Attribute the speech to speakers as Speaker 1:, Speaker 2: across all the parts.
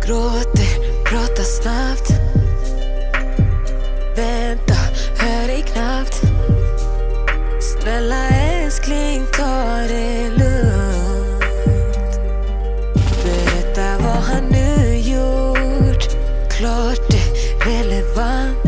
Speaker 1: gråter, pratar snabbt Vänta, hör dig knappt Snälla älskling, ta det lugnt Berätta vad han nu gjort Klart det relevant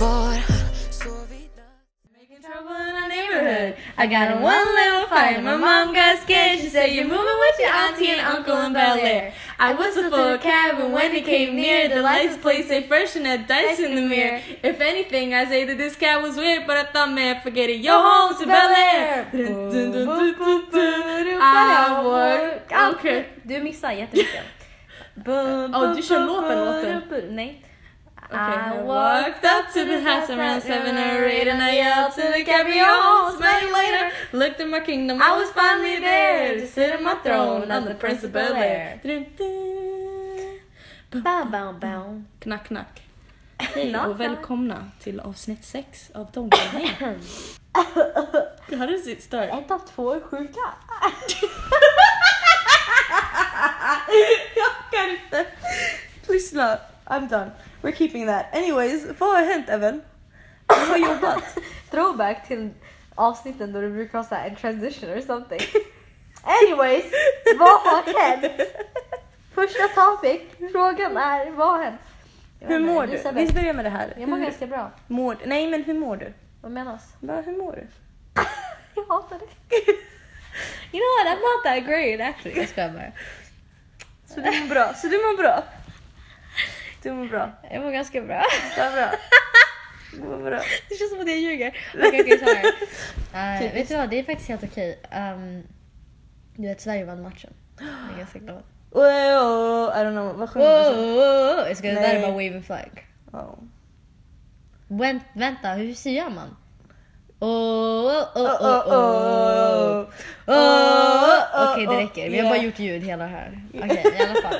Speaker 1: Var han sovit natt
Speaker 2: Making trouble in our neighborhood. I got in one little fight. My mom got scared. She said, You're moving with your auntie and uncle in Bel Air. I whistled for a cab, and when it came near, the lights played say fresh and had dice in the mirror. If anything, I say that this cab was weird, but I thought, man, forget it. Yo, home to Bel Air. Dun, dun, dun, dun, dun, dun. I walk.
Speaker 3: Allt.
Speaker 2: Okay. Oh,
Speaker 3: Du missar jättemycket.
Speaker 2: Ja, du kör låten, låten.
Speaker 3: Nej.
Speaker 2: I walked up to the house around seven or eight and I yelled to the cabrio home, smell you later. Looked at my kingdom, I was finally there to sit on my throne. I'm the prince of Bel Air.
Speaker 3: Bam, bam, bam.
Speaker 2: Knack, knack. Hej
Speaker 3: Knack,
Speaker 2: och
Speaker 3: knack.
Speaker 2: välkomna till avsnitt 6 av Donkey Det här är sitt stör.
Speaker 3: Ett av två är sjuka.
Speaker 2: Jag kan inte.
Speaker 4: Lyssna, I'm done. We're keeping that. Anyways, vad har hänt Evan?
Speaker 2: Oh,
Speaker 4: Du har jobbat.
Speaker 3: Throwback till avsnitten då det brukar vara så här en transition or something. Anyways, vad har hänt? Första topic, frågan är vad har hänt? Jag
Speaker 4: Hur
Speaker 3: vet inte,
Speaker 4: mår du?
Speaker 3: Elisabeth,
Speaker 4: Vi börjar med det här.
Speaker 3: Jag mår
Speaker 4: Hur
Speaker 3: ganska bra.
Speaker 4: mår du? Nej men hur mår du?
Speaker 3: Vad menas?
Speaker 4: Bara hur mår du?
Speaker 3: Jag hatar det. You know what, I'm not that great actually. Jag skojar bara.
Speaker 4: Så du mår bra? Så du mår bra? Du mår bra.
Speaker 3: Jag mår ganska bra.
Speaker 4: Vad bra. Du mår bra.
Speaker 3: Det känns som att jag ljuger. Okej, okej, så här. Eh, vet du vad, det är faktiskt helt okej. Ehm, du vet, Sverige vann matchen. Jag är ganska glad.
Speaker 4: Oh, oh, I don't know, vad
Speaker 3: Wow,
Speaker 4: sjunger du?
Speaker 3: Jag ska lära mig
Speaker 4: Nej.
Speaker 3: bara wave and flag.
Speaker 4: Oh.
Speaker 3: Vänt, vänta, hur säger man? Oh, oh, oh,
Speaker 2: Uh,
Speaker 4: Oh, oh, oh.
Speaker 3: oh. Okej,
Speaker 4: oh,
Speaker 3: det räcker. Vi har
Speaker 4: yeah.
Speaker 3: bara gjort ljud hela här. Okej, i alla fall.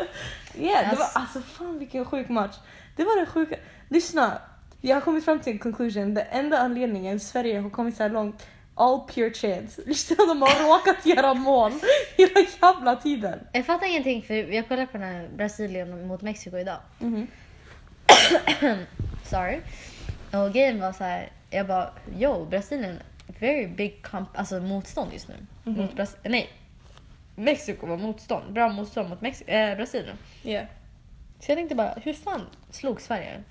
Speaker 4: Yeah, det var,
Speaker 3: Alltså-
Speaker 4: alltså fan vilken sjuk match. Det var den sjuka. Lyssna, jag har kommit fram till en conclusion. Den enda anledningen Sverige har kommit så här långt, all pure chance. Lyssna, de har råkat göra mål hela jävla tiden.
Speaker 3: Jag fattar ingenting för jag kollade på den här Brasilien mot Mexiko idag.
Speaker 4: Mhm.
Speaker 3: Sorry. Och grejen var så här, jag bara yo Brasilien very big comp, alltså motstånd just nu.
Speaker 2: Mhm.
Speaker 3: Mot Bras- nej. Mexiko var motstånd, bra motstånd mot Mex- eh, Brasilien.
Speaker 4: Yeah.
Speaker 3: Så jag tänkte bara hur fan slog Sverige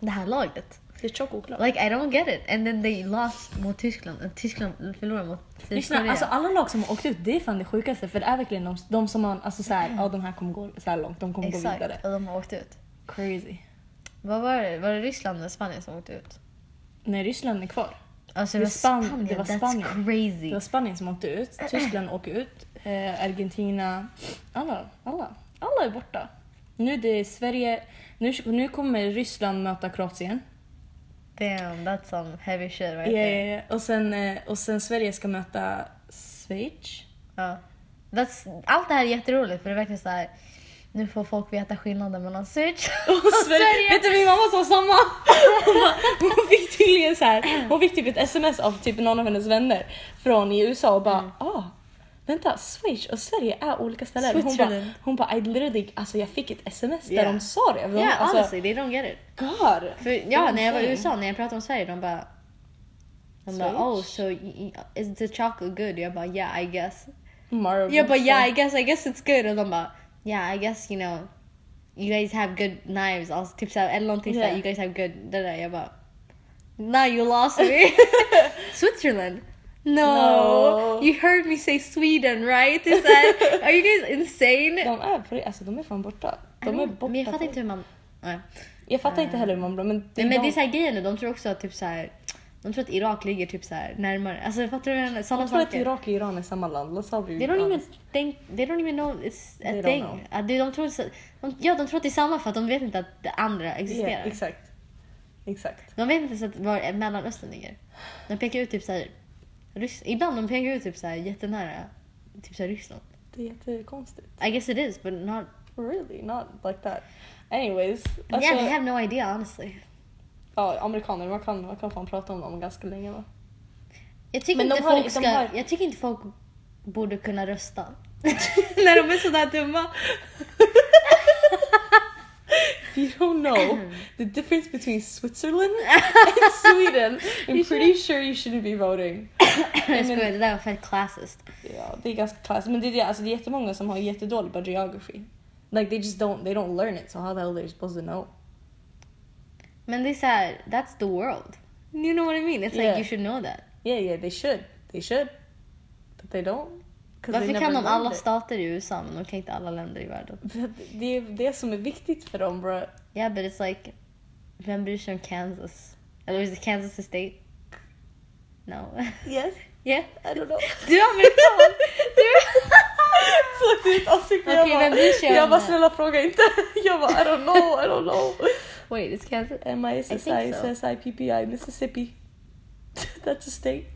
Speaker 3: det här laget?
Speaker 4: Det är chokoklart.
Speaker 3: Like I don't get it. And then they lost mot Tyskland. And Tyskland förlorade mot
Speaker 2: Lyssna, alltså alla lag som har åkt ut, det är fan det sjukaste för det är verkligen de, de som man, alltså såhär, ja de här kommer gå så här långt, de kommer gå
Speaker 3: Exakt,
Speaker 2: vidare.
Speaker 3: och de har åkt ut.
Speaker 2: Crazy.
Speaker 3: Vad var det? Var det Ryssland eller Spanien som åkte ut?
Speaker 2: Nej, Ryssland är kvar.
Speaker 3: Alltså det,
Speaker 2: Det
Speaker 3: var
Speaker 2: är Span-
Speaker 3: Spanien,
Speaker 2: det var
Speaker 3: that's
Speaker 2: Spanien.
Speaker 3: crazy.
Speaker 2: Det var Spanien som åkte ut, Tyskland åker ut, eh, Argentina, alla, alla, alla är borta. Nu det är Sverige, nu, nu kommer Ryssland möta Kroatien.
Speaker 3: Damn, that's some heavy shit right
Speaker 2: Eh,
Speaker 3: there.
Speaker 2: och, sen, eh, och sen Sverige ska möta Schweiz.
Speaker 3: Ja. That's, allt det här är jätteroligt för det är verkligen så här. nu får folk veta skillnaden mellan Switch
Speaker 2: Och
Speaker 3: Alltså,
Speaker 2: Sverige. Vet du min mamma sa samma. Hon, bara, hon fick tydligen så här, hon fick typ ett sms av typ någon av hennes vänner från i USA och
Speaker 3: Mm.
Speaker 2: bara ah, vänta Schweiz och Sverige är olika ställen. Hon bara,
Speaker 3: Switzerland.
Speaker 2: hon bara I literally, alltså jag fick ett sms där
Speaker 3: Yeah.
Speaker 2: de sa det.
Speaker 3: Ja,
Speaker 2: De,
Speaker 3: yeah,
Speaker 2: alltså,
Speaker 3: honestly, they don't get it.
Speaker 2: God.
Speaker 3: För, ja, när jag var
Speaker 2: insane.
Speaker 3: i USA, när jag pratade om Sverige, de bara... De bara,
Speaker 2: Switch?
Speaker 3: oh, so y- y- is the chocolate good? Jag bara, yeah, I guess.
Speaker 2: Marvel.
Speaker 3: Jag bara, yeah, I guess, I guess it's good. Och de bara, yeah, I guess, you know, you guys have good knives. Alltså, typ så här, eller någonting så
Speaker 2: Yeah.
Speaker 3: här, you guys have good... Det där. Jag bara, now you lost me. Switzerland. No.
Speaker 2: No.
Speaker 3: you heard me say Sweden right? Det är så här, are you guys insane?
Speaker 2: De är, på det- alltså, de är fan borta. De är borta.
Speaker 3: men jag fattar
Speaker 2: på-
Speaker 3: inte hur man... Nej.
Speaker 2: jag fattar inte heller hur man blir men det
Speaker 3: Nej, men
Speaker 2: de-
Speaker 3: det är så här grejen nu, de tror också att typ så här, de tror att Irak ligger typ så här närmare. Alltså fattar du vad jag menar? Sådana
Speaker 2: jag tror att
Speaker 3: saker.
Speaker 2: Irak och Iran är samma land. Let's all be
Speaker 3: They don't even
Speaker 2: honest.
Speaker 3: think, they don't even know it's a
Speaker 2: They don't
Speaker 3: thing.
Speaker 2: know.
Speaker 3: Att de, de, tror, så- de, ja, de tror att det är samma för att de vet inte att det andra existerar.
Speaker 2: Yeah, exakt. Exakt.
Speaker 3: de vet inte ens att var Mellanöstern ligger. De pekar ut typ så här, Ryss, ibland de pekar ut typ så här jättenära typ så här Ryssland.
Speaker 2: Det är jättekonstigt.
Speaker 3: I guess it is but not,
Speaker 2: Really, not like that. Anyways, alltså,
Speaker 3: yeah they have no idea honestly.
Speaker 2: ja, amerikaner, man kan, man kan fan prata om dem ganska länge va?
Speaker 3: Jag tycker,
Speaker 2: Men de
Speaker 3: inte
Speaker 2: har-
Speaker 3: folk
Speaker 2: de
Speaker 3: ska,
Speaker 2: har-
Speaker 3: jag tycker inte folk borde kunna rösta. När de är sådär dumma.
Speaker 2: if you don't know the difference between Switzerland and Sweden, I'm pretty sure you shouldn't be voting.
Speaker 3: Jag skojar, det där var fett classiskt.
Speaker 2: Ja, det är ganska klassiskt. Men det är, det, alltså, det är jättemånga som har jättedålig på geography. Like they just don't, they don't learn it so how the hell they're supposed to know?
Speaker 3: Men det är såhär, that's the world. You know what I mean? It's like
Speaker 2: Yeah.
Speaker 3: you should know that.
Speaker 2: Yeah yeah they should, they should. But they don't. 'Cause they
Speaker 3: Varför
Speaker 2: never
Speaker 3: kan de
Speaker 2: learned
Speaker 3: alla
Speaker 2: it.
Speaker 3: stater i USA men de kan inte alla länder i världen?
Speaker 2: Det är det som är viktigt för dem bro.
Speaker 3: Yeah, but it's like, vem bryr sig om Kansas? Eller is it Kansas a state? No.
Speaker 2: Yes,
Speaker 3: yeah.
Speaker 2: I don't know.
Speaker 3: Du är amerikan!
Speaker 2: Så ditt ansikte,
Speaker 3: Okej,
Speaker 2: jag
Speaker 3: vem bryr sig
Speaker 2: bara,
Speaker 3: om
Speaker 2: jag bara
Speaker 3: det?
Speaker 2: snälla fråga inte. Jag bara I don't know, I don't know.
Speaker 3: Wait, it's Kansas? I
Speaker 2: M-I-S-S-I,
Speaker 3: think so.
Speaker 2: S-S-I-P-P-I, Mississippi. That's a state.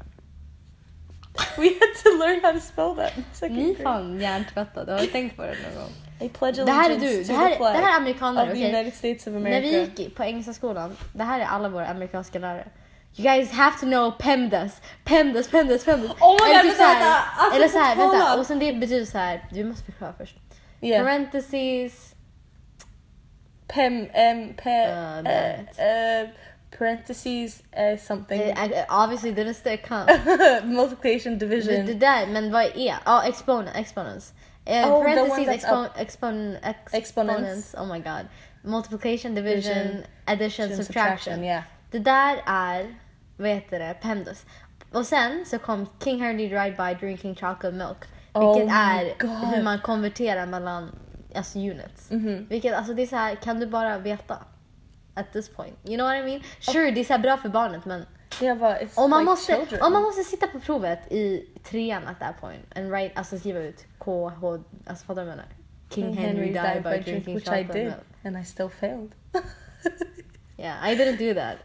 Speaker 2: We had to learn how to spell that in
Speaker 3: Ni
Speaker 2: second
Speaker 3: är
Speaker 2: grade.
Speaker 3: fan hjärntvättade, har du tänkt på det någon gång?
Speaker 2: I pledge
Speaker 3: Det här är
Speaker 2: allegiance
Speaker 3: du,
Speaker 2: to
Speaker 3: det här,
Speaker 2: the
Speaker 3: det
Speaker 2: flag
Speaker 3: här
Speaker 2: of
Speaker 3: är amerikaner
Speaker 2: the
Speaker 3: okej?
Speaker 2: United States of
Speaker 3: När
Speaker 2: America.
Speaker 3: vi gick på engelska skolan, det här är alla våra amerikanska lärare. You guys have to know PEMDAS, PEMDAS, PEMDAS, PEMDAS.
Speaker 2: Oh my
Speaker 3: eller
Speaker 2: God,
Speaker 3: typ så här-
Speaker 2: vänta, alltså,
Speaker 3: eller så här,
Speaker 2: kolla.
Speaker 3: vänta, och sen det betyder så här, vi måste förklara först.
Speaker 2: yeah.
Speaker 3: Parentheses,
Speaker 2: Pem, em, pe,
Speaker 3: Uh, damn
Speaker 2: uh, uh, parentheses, uh, something.
Speaker 3: eh, eh, obviously didn't stick huh?
Speaker 2: Multiplication,
Speaker 3: Det, det
Speaker 2: division,
Speaker 3: där, men vad är? Ja, exponent, exponents.
Speaker 2: Oh,
Speaker 3: Eh,
Speaker 2: the one
Speaker 3: parentheses,
Speaker 2: that's
Speaker 3: expon, expon,
Speaker 2: Exponents.
Speaker 3: ex- exponents. Oh my god. Multiplication, division,
Speaker 2: Division,
Speaker 3: addition, subtraction.
Speaker 2: subtraction. Yeah.
Speaker 3: Det där är, vad heter det, PEMDAS. Och sen så kom King Henry Ride By Drinking Chocolate Milk.
Speaker 2: Oh
Speaker 3: Vilket
Speaker 2: my
Speaker 3: är
Speaker 2: God. Mm.
Speaker 3: hur man konverterar mellan alltså, units.
Speaker 2: Mm-hmm.
Speaker 3: Vilket, alltså det är så här, kan du bara veta? At this point. You know what I mean? Sure, det är så här bra för barnet men
Speaker 2: Yeah, but it's
Speaker 3: om man,
Speaker 2: like
Speaker 3: måste,
Speaker 2: children.
Speaker 3: om man måste sitta på provet i trean at that point and write, alltså skriva ut KH, alltså fattar du vad jag menar? King,
Speaker 2: King
Speaker 3: Henry, died by,
Speaker 2: drink,
Speaker 3: drinking
Speaker 2: which I
Speaker 3: chocolate
Speaker 2: did,
Speaker 3: milk.
Speaker 2: and I still failed.
Speaker 3: Yeah, I didn't do that.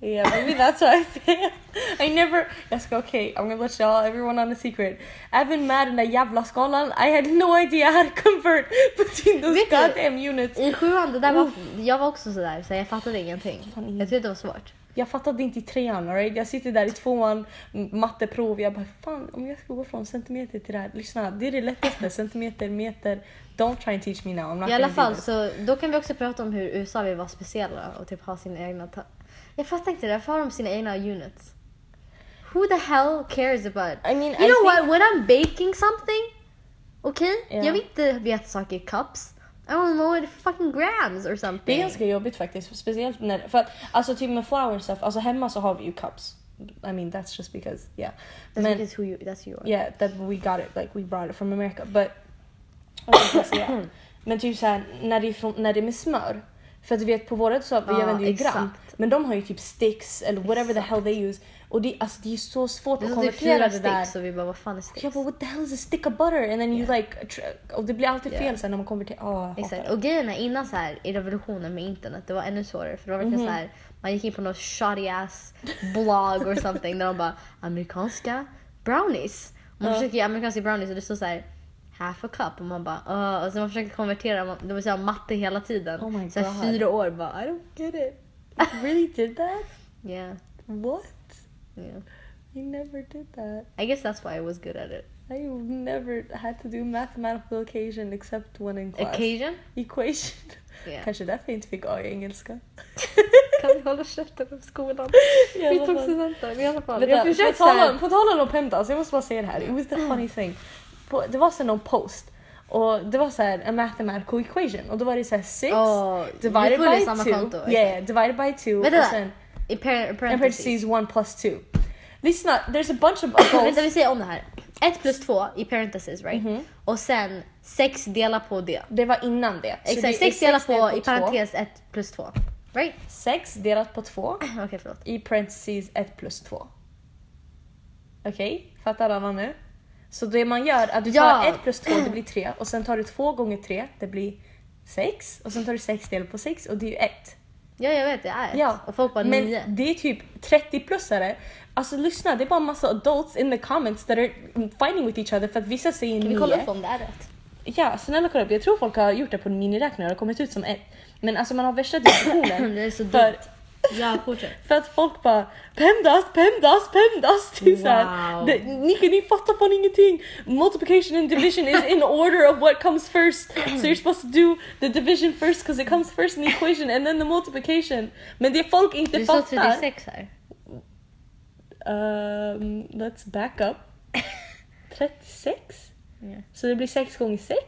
Speaker 2: Yeah, maybe that's why I failed. I never. Let's go, okay. I'm gonna let y'all, everyone, on a secret. I've been mad in a jävla skolan. I had no idea how to convert between those
Speaker 3: Vet du-
Speaker 2: goddamn units.
Speaker 3: I sjuan, det där var, jag var också sådär så jag fattade ingenting. Jag tyckte det var svårt.
Speaker 2: Jag fattade inte i trean, alright? Jag sitter där i tvåan, m- matteprov. Jag bara, fan om jag ska gå från centimeter till det här. Lyssna, det är det lättaste. Centimeter, meter. Don't try and teach me now. I'm not
Speaker 3: I
Speaker 2: gonna
Speaker 3: alla
Speaker 2: do
Speaker 3: fall
Speaker 2: this.
Speaker 3: så då kan vi också prata om hur USA vill vara speciella och typ ha sina egna... Ta- jag fattar inte det, varför har de sina egna units? Who the hell cares about...
Speaker 2: I mean,
Speaker 3: you
Speaker 2: I
Speaker 3: know
Speaker 2: think-
Speaker 3: what, when I'm baking something, okej?
Speaker 2: Ja.
Speaker 3: Jag vill inte veta saker i cups. I don't know it fucking grams or
Speaker 2: Det är
Speaker 3: something.
Speaker 2: ganska jobbigt faktiskt. Speciellt när, för att alltså typ med flower stuff, alltså hemma så har vi ju cups. I mean that's just because yeah.
Speaker 3: That's,
Speaker 2: Men
Speaker 3: because who you, that's who you are.
Speaker 2: yeah that we got it like we brought it from America but Alltså, alltså, ja. Men typ såhär när, det är från- när det är med smör. För att du vet på vårat så vi
Speaker 3: Ja,
Speaker 2: använder ju
Speaker 3: exakt.
Speaker 2: gram. Men de har ju typ sticks eller whatever the hell they use. Och det, alltså, det är så svårt
Speaker 3: Det är
Speaker 2: att
Speaker 3: så typ
Speaker 2: konvertera
Speaker 3: fyra
Speaker 2: det
Speaker 3: stick
Speaker 2: där.
Speaker 3: så vi bara vad fan är sticks?
Speaker 2: Jag bara what the hell is a stick of butter? And then you like tr- och det blir alltid
Speaker 3: Ja.
Speaker 2: fel sen när man konverterar. Oh,
Speaker 3: Exakt. Och grejen är innan så här, i revolutionen med internet, det var ännu svårare. För då var det
Speaker 2: Mhm.
Speaker 3: så här, man gick in på någon shoddy ass blogg or something där de bara amerikanska brownies. Man försöker göra amerikanska brownies och det står så här half a cup och man bara "Åh." och så man försöker konvertera, man- det var så här matte hela tiden.
Speaker 2: Oh my
Speaker 3: så här,
Speaker 2: God.
Speaker 3: fyra år bara I don't
Speaker 2: Get it? You really did that?
Speaker 3: yeah,
Speaker 2: What?
Speaker 3: yeah.
Speaker 2: You never did that.
Speaker 3: I guess that's why I was good at it.
Speaker 2: I never had to do mathematical occasion except when in class.
Speaker 3: Occasion?
Speaker 2: Equation.
Speaker 3: Yeah.
Speaker 2: Kanske därför jag inte fick A i engelska.
Speaker 3: Kan vi hålla käften om skolan?
Speaker 2: I alla
Speaker 3: Vi tog
Speaker 2: fall.
Speaker 3: studenten i alla fall.
Speaker 2: Vänta,
Speaker 3: jag försökte Mm.
Speaker 2: på
Speaker 3: så
Speaker 2: tal om-
Speaker 3: här,
Speaker 2: på tal om Pemdas, jag måste bara säga det här. It was the funny thing. På, det var sen någon post och det var så här a mathematical equation och då var det så här 6
Speaker 3: Åh, vi
Speaker 2: divided
Speaker 3: följer
Speaker 2: by
Speaker 3: samma
Speaker 2: 2.
Speaker 3: konto,
Speaker 2: Yeah,
Speaker 3: exakt.
Speaker 2: yeah, divided by 2
Speaker 3: Vänta,
Speaker 2: och sen
Speaker 3: i par-
Speaker 2: and
Speaker 3: parentheses.
Speaker 2: parentheses 1 plus 2. Lyssna, there's a bunch of adults.
Speaker 3: Vänta vi säger om det här. 1 plus 2 i parentheses right?
Speaker 2: Mhm.
Speaker 3: Och sen 6 delat på det.
Speaker 2: det var innan det. Så det är
Speaker 3: Exakt, 6 delat på,
Speaker 2: två.
Speaker 3: i parentes 1 plus 2. Right?
Speaker 2: 6 delat på 2.
Speaker 3: Okej förlåt.
Speaker 2: i parentheses 1 plus 2. Okej, fattar alla nu? Så det man gör är att du tar
Speaker 3: Ja.
Speaker 2: 1 plus 2, det blir 3 och sen tar du 2 gånger 3, det blir 6 och sen tar du 6 delat på 6 och det är ju 1.
Speaker 3: Ja jag vet det är ett.
Speaker 2: Ja,
Speaker 3: Och folk bara
Speaker 2: men
Speaker 3: 9.
Speaker 2: det är typ 30-plussare. Alltså lyssna, det är bara en massa adults in the comments that are fighting with each other för att vissa säger 9.
Speaker 3: Kan vi kolla upp om det är rätt?
Speaker 2: Ja, snälla kolla upp. Jag tror folk har gjort det på en miniräknare och kommit ut som ett. Men alltså man har värsta diskussionen.
Speaker 3: Det är så
Speaker 2: för,
Speaker 3: dumt.
Speaker 5: Ja, fortsätt.
Speaker 2: För att folk bara PEMDAS, PEMDAS, PEMDAS. Det är så här,
Speaker 5: Wow.
Speaker 2: det, ni, ni fattar fan ingenting. Multiplication and division is in order of what comes first. So you're supposed to do the division first because it comes first in the equation and then the multiplication. Men det folk inte
Speaker 3: Du sa
Speaker 2: fattar.
Speaker 3: 36 här.
Speaker 2: Um, let's back up. 36?
Speaker 3: Yeah.
Speaker 2: Så det blir 6 gånger 6?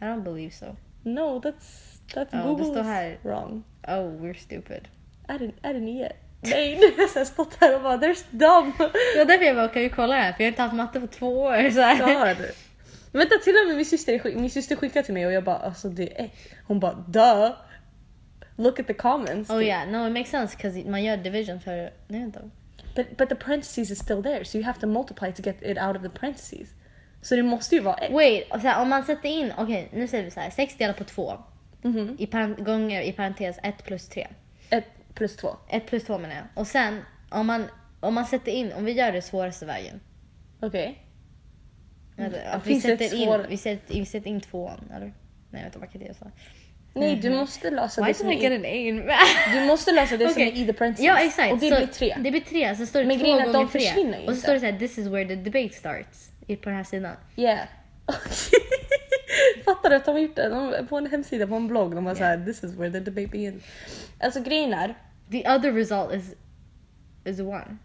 Speaker 3: I don't believe so.
Speaker 2: No, that's, that's
Speaker 3: Ja, det står
Speaker 2: Google's
Speaker 3: här.
Speaker 2: wrong.
Speaker 3: Oh, we're stupid.
Speaker 2: Är det, är det nio? Nej, nu har jag så här stått här och bara there's dumb.
Speaker 3: Det var därför jag bara, kan vi kolla det här? För jag har inte haft matte på två år. Så här.
Speaker 2: Dör. Vänta, till och med min syster, skick- min syster skickade till mig och jag bara alltså det är ett. Hon bara duh. Look at the comments.
Speaker 3: Oh yeah, no it makes sense because man gör division för... Nej vänta.
Speaker 2: but, but the parentheses is still there so you have to multiply to get it out of the parentheses. Så det måste ju vara ett.
Speaker 3: Wait, och så här, om man sätter in, okej nu säger vi så här, 6 delat på 2
Speaker 2: Mhm.
Speaker 3: i par- gånger i parentes 1 plus 3.
Speaker 2: Ett plus två.
Speaker 3: 1 plus 2 menar jag. Och sen om man, om man sätter in, om vi gör det svåraste vägen.
Speaker 2: Okej.
Speaker 3: Alltså, att vi,
Speaker 2: Mm. Finns det ett
Speaker 3: sätter
Speaker 2: svår-
Speaker 3: in, vi, sätter, vi sätter in tvåan, eller? Nej vänta vad kan jag säga?
Speaker 2: Nej du måste lösa
Speaker 3: Mhm. Why
Speaker 2: det som
Speaker 3: did I
Speaker 2: är
Speaker 3: get
Speaker 2: i,
Speaker 3: an A in
Speaker 2: Du måste lösa det som
Speaker 3: Okej.
Speaker 2: är i the parentheses.
Speaker 3: Ja exakt.
Speaker 2: Och det
Speaker 3: så
Speaker 2: blir tre.
Speaker 3: Det blir tre, så står det
Speaker 2: Men
Speaker 3: två
Speaker 2: grejen är
Speaker 3: gånger
Speaker 2: att de
Speaker 3: tre.
Speaker 2: försvinner ju
Speaker 3: och så
Speaker 2: inte.
Speaker 3: står det så här, this is where the debate starts. i- På den här sidan.
Speaker 2: Yeah. Fattar du att de har gjort det? De, på en hemsida, på en blogg, de var såhär “this is where the debate begins”. Alltså grejen är,
Speaker 3: The other result is, is one.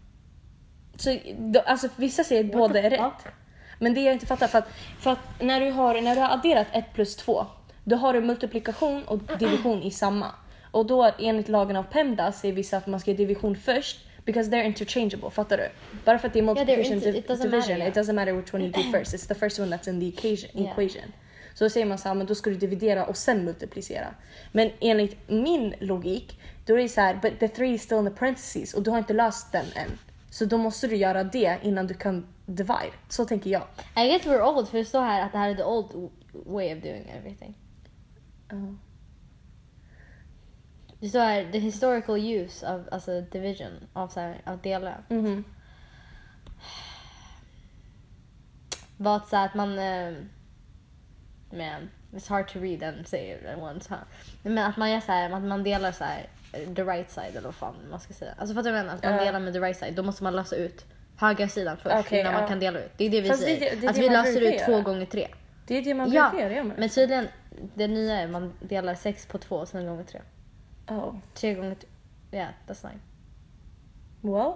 Speaker 2: så, de, alltså, vissa säger att båda är
Speaker 3: fuck?
Speaker 2: rätt. Men det jag inte fattar, för att, för att när, du har, när du har adderat 1 plus 2, då har du multiplikation och division i samma. Och då enligt lagen av PEMDAS säger vissa att man ska göra division först, because they're interchangeable, fattar du? Bara för att det är multiplication
Speaker 3: inte- it
Speaker 2: div-
Speaker 3: doesn't
Speaker 2: division,
Speaker 3: matter,
Speaker 2: it doesn't matter which one you do first, it's the first one that's in the equation.
Speaker 3: Yeah.
Speaker 2: equation. Så då säger man så här, men då ska du dividera och sen multiplicera. Men enligt min logik, då är det så här, but the three is still in the parentheses och du har inte löst den än. Så då måste du göra det innan du kan divide. Så tänker jag.
Speaker 3: I guess we're old för det står här att det här är the old w- way of doing everything. Oh.
Speaker 2: Ja.
Speaker 3: Det står här uh, the historical use of alltså division, av, så här, av dela.
Speaker 2: Mhm.
Speaker 3: Var att så här, att man... Eh, man, it's hard to read and say it at once. Huh? Men att man gör så här, att man delar så här eh, the right side eller vad fan man ska säga. Alltså fattar du vad jag menar? Att man
Speaker 2: Ja.
Speaker 3: delar med the right side, då måste man lösa ut högra sidan först
Speaker 2: Okej,
Speaker 3: innan man
Speaker 2: ja.
Speaker 3: kan dela ut. Det är det vi
Speaker 2: Fast det är
Speaker 3: säger.
Speaker 2: det- det är
Speaker 3: att
Speaker 2: det
Speaker 3: vi
Speaker 2: man
Speaker 3: löser
Speaker 2: brukar
Speaker 3: ut
Speaker 2: göra.
Speaker 3: två gånger tre.
Speaker 2: Det är det man
Speaker 3: Ja,
Speaker 2: brukar göra, jag med.
Speaker 3: men tydligen det nya är man delar sex på två och sen gånger tre.
Speaker 2: Oh.
Speaker 3: Tre gånger tre. Yeah, that's nine.
Speaker 2: Well,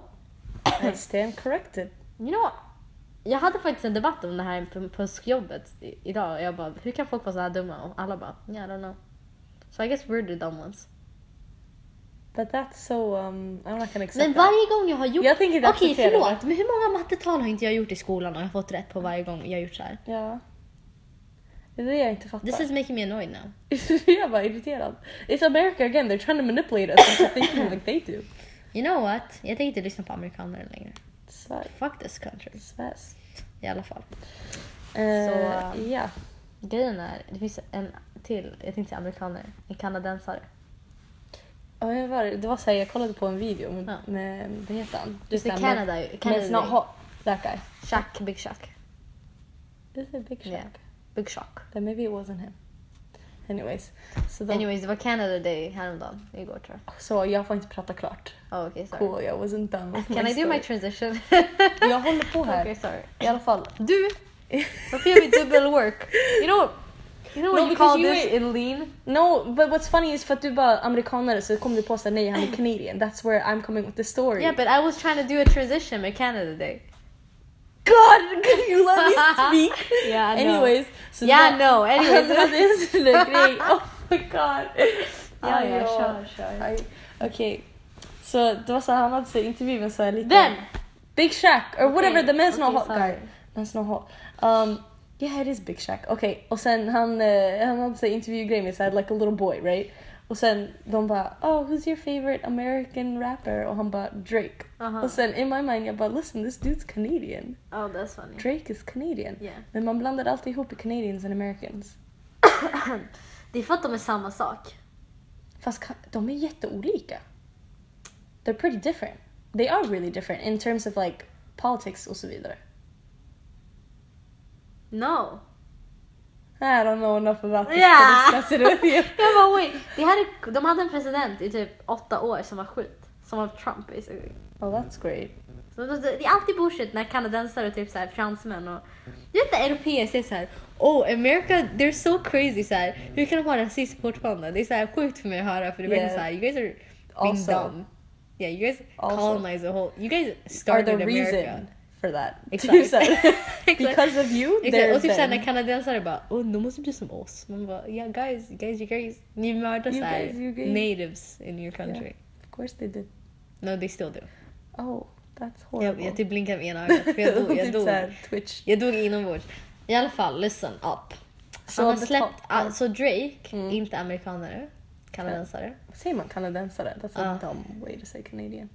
Speaker 2: I stand corrected.
Speaker 3: You know what? Jag hade faktiskt en debatt om det här på, på jobbet i, idag och jag bara hur kan folk vara så här dumma? Och alla bara yeah, I don't know. So I guess we're the dumb ones.
Speaker 2: But that's so... Um, I'm not gonna accept
Speaker 3: Men
Speaker 2: that.
Speaker 3: varje gång jag har gjort...
Speaker 2: Jag tänker inte
Speaker 3: Okej
Speaker 2: acceptera det.
Speaker 3: förlåt, men hur många mattetal har inte jag gjort i skolan och jag har fått rätt på varje gång jag har gjort så här?
Speaker 2: Ja. Det är det jag inte fattar.
Speaker 3: This is making me annoyed now.
Speaker 2: jag bara irriterad. It's America again, they're trying to manipulate us into thinking like they do.
Speaker 3: You know what? Jag tänker inte lyssna på amerikaner längre.
Speaker 2: Svärs.
Speaker 3: Fuck this country.
Speaker 2: Svärs.
Speaker 3: I alla fall.
Speaker 2: Eh,
Speaker 3: Så, um,
Speaker 2: Ja.
Speaker 3: Grejen är, det finns en till, jag tänkte säga amerikaner, en kanadensare.
Speaker 2: Ja, men vad var det? det var så här, jag kollade på en video med,
Speaker 3: Ja.
Speaker 2: med vad heter han?
Speaker 3: Just
Speaker 2: det,
Speaker 3: det,
Speaker 2: men-
Speaker 3: Canada-
Speaker 2: men
Speaker 3: Canada
Speaker 2: it's not
Speaker 3: Day.
Speaker 2: hot. That guy.
Speaker 3: Chuck, Big Chuck.
Speaker 2: Is it Big Shock?
Speaker 3: Yeah. Big Chuck.
Speaker 2: Then maybe it wasn't him. Anyways. Så, de,
Speaker 3: Anyways, det var Canada Day häromdagen, igår tror jag.
Speaker 2: så jag får inte prata klart.
Speaker 3: Oh, okay, sorry.
Speaker 2: Cool, jag wasn't done with
Speaker 3: Can
Speaker 2: my
Speaker 3: I do
Speaker 2: story.
Speaker 3: my transition?
Speaker 2: Jag håller på här.
Speaker 3: okay, sorry.
Speaker 2: I alla fall.
Speaker 3: Du, varför gör vi dubbel work? You know, you know what
Speaker 2: No,
Speaker 3: you
Speaker 2: because
Speaker 3: call
Speaker 2: you
Speaker 3: this
Speaker 2: were-
Speaker 3: in lean?
Speaker 2: No, but what's funny is för att du bara amerikanare så kom du på såhär nej han är Canadian. That's where I'm coming with the story.
Speaker 3: Yeah, but I was trying to do a transition with Canada Day.
Speaker 2: God, can you let me speak?
Speaker 3: Yeah, I know.
Speaker 2: Anyways. So
Speaker 3: Yeah,
Speaker 2: that-
Speaker 3: no, anyways.
Speaker 2: Alltså, det är en sån där grej. Oh my god.
Speaker 3: Ja, ja,
Speaker 2: Aj,
Speaker 3: kör, kör.
Speaker 2: aj. Okej. Så det var så här, han hade så här intervju med så här lite...
Speaker 3: Then,
Speaker 2: Big Shack or whatever the man's not
Speaker 3: okej,
Speaker 2: hot guy.
Speaker 3: sorry.
Speaker 2: Man's not hot. Um, yeah it is Big Shack. Okej och sen han, eh, han hade så här intervjugrej med såhär like a little boy right? Och sen de bara oh who's your favorite American rapper? Och han bara Drake.
Speaker 3: Aha.
Speaker 2: Och sen in my mind jag bara listen this dude's Canadian.
Speaker 3: oh that's funny.
Speaker 2: Drake is Canadian.
Speaker 3: Yeah.
Speaker 2: Men man blandar alltid ihop Canadians and Americans.
Speaker 3: Det är för att de är samma sak.
Speaker 2: Fast ka- de är jätteolika. They're pretty different. They are really different in terms of like politics och så vidare.
Speaker 3: No.
Speaker 2: I don't know enough about this
Speaker 3: Ja.
Speaker 2: to discuss it with you.
Speaker 3: Jag bara wait, det här är, de hade en president i typ åtta år som var skit. Som var Trump basically.
Speaker 2: Oh that's great.
Speaker 3: Så det- alltså, Det är alltid bullshit när kanadensare och typ så här fransmän och jag vet inte, europeer säger så här. Oh America they're so crazy så här. Hur kan de vara rasister fortfarande? Det är så här sjukt för mig att höra för det är verkligen
Speaker 2: Yeah.
Speaker 3: så här you guys are being
Speaker 2: Also-
Speaker 3: dumb. Yeah you guys
Speaker 2: Also-
Speaker 3: colonize the whole, you guys
Speaker 2: Are
Speaker 3: started
Speaker 2: the
Speaker 3: America.
Speaker 2: reason for that. Typ
Speaker 3: Exakt.
Speaker 2: såhär,
Speaker 3: Exakt.
Speaker 2: Because of you,
Speaker 3: Exakt,
Speaker 2: they're
Speaker 3: och typ såhär
Speaker 2: them.
Speaker 3: när kanadensare bara oh de måste bli som oss. Man bara yeah guys, you guys, you guys, ni mördar
Speaker 2: You
Speaker 3: såhär
Speaker 2: guys, you guys."
Speaker 3: natives in your country.
Speaker 2: Of course they did.
Speaker 3: No they still do.
Speaker 2: Oh, that's
Speaker 3: Jag,
Speaker 2: horrible.
Speaker 3: jag typ blinkar med ena ögat för jag
Speaker 2: Och
Speaker 3: dog, jag
Speaker 2: typ
Speaker 3: dog.
Speaker 2: såhär, Twitch.
Speaker 3: Jag dog inombords. I alla fall, listen up.
Speaker 2: Så
Speaker 3: Han har
Speaker 2: betalt-
Speaker 3: släppt,
Speaker 2: ja.
Speaker 3: alltså Drake,
Speaker 2: Mm.
Speaker 3: inte amerikanare, kanadensare.
Speaker 2: Säger man kanadensare? That's a
Speaker 3: Ja.
Speaker 2: dumb way to say Canadian.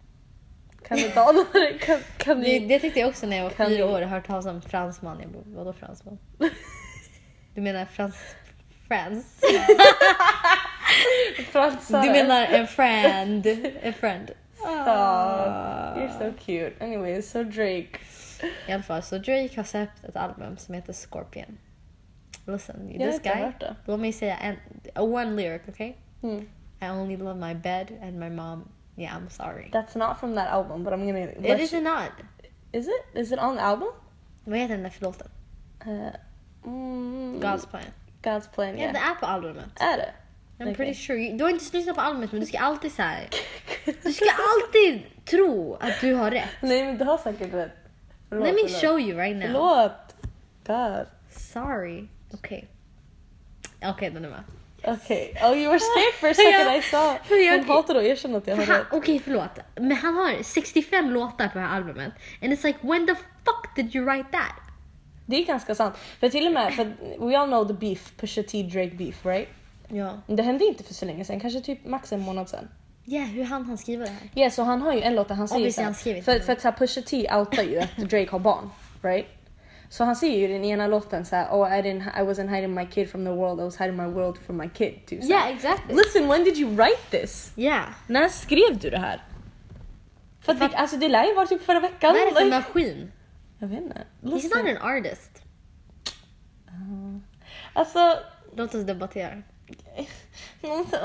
Speaker 2: Kanadanare? Kan, kan
Speaker 3: Det,
Speaker 2: ni...
Speaker 3: det tyckte jag också när jag var
Speaker 2: Kan
Speaker 3: fyra
Speaker 2: ni-
Speaker 3: år och hört talas om fransman. Jag bara, vadå fransman? Du menar frans... Frans?
Speaker 2: Fransare?
Speaker 3: Du menar en friend? En friend.
Speaker 2: Stop. You're so cute. Anyways, so Drake.
Speaker 3: I alla fall, så Drake har släppt ett album som heter Scorpion. Listen,
Speaker 2: Jag har
Speaker 3: this
Speaker 2: inte
Speaker 3: guy.
Speaker 2: hört det.
Speaker 3: Låt mig säga en, one lyric, okay?
Speaker 2: Mm.
Speaker 3: I only love my bed and my mom. Yeah, I'm sorry.
Speaker 2: That's not from that album, but I'm gonna...
Speaker 3: It
Speaker 2: let
Speaker 3: is
Speaker 2: you-
Speaker 3: not.
Speaker 2: Is it? Is it on the album?
Speaker 3: Vad heter den där för låten?
Speaker 2: Uh, mm,
Speaker 3: God's plan.
Speaker 2: God's plan,
Speaker 3: Ja,
Speaker 2: yeah.
Speaker 3: det är på albumet.
Speaker 2: Är det?
Speaker 3: I'm
Speaker 2: Okej.
Speaker 3: pretty sure. You- Du har inte ens lyssnat på albumet men du ska alltid så här. Du ska alltid tro att du har rätt.
Speaker 2: Nej men du har säkert rätt. Förlåt,
Speaker 3: Let me
Speaker 2: förlåt.
Speaker 3: show you right now.
Speaker 2: Förlåt! God.
Speaker 3: Sorry. Okej. Okej, den är med.
Speaker 2: Okej. Oh you were scared for a second
Speaker 3: Ja.
Speaker 2: I saw.
Speaker 3: Ja,
Speaker 2: Hon
Speaker 3: okej.
Speaker 2: hatar att erkänna att jag har
Speaker 3: För han-
Speaker 2: rätt.
Speaker 3: Okej, förlåt. Men han har 65 låtar på det här albumet. And it's like, when the fuck did you write that?
Speaker 2: Det är ganska sant. För till och med, för we all know the beef, Pusha T Drake beef right?
Speaker 3: Ja.
Speaker 2: Det hände inte för så länge sedan, kanske typ max en månad sedan.
Speaker 3: Ja, hur hann han skriva det här?
Speaker 2: Ja så han har ju en låt där han säger
Speaker 3: Obviously
Speaker 2: så här-
Speaker 3: han skrivit
Speaker 2: För,
Speaker 3: den.
Speaker 2: för att så här, Pusha T outar ju att Drake har barn. Right? Så han säger ju i den ena låten så här, oh I, didn't, I wasn't hiding my kid from the world, I was hiding my world from my kid. Typ, så här.
Speaker 3: Yeah, exactly.
Speaker 2: Listen when did you write this?
Speaker 3: Yeah.
Speaker 2: När skrev du det här? För att det, alltså det lär ju vara typ förra veckan.
Speaker 3: Vad är det för
Speaker 2: Like-
Speaker 3: maskin?
Speaker 2: Jag vet inte.
Speaker 3: He's not
Speaker 2: Listen.
Speaker 3: an artist.
Speaker 2: Alltså...
Speaker 3: Låt oss debattera.
Speaker 2: alltså,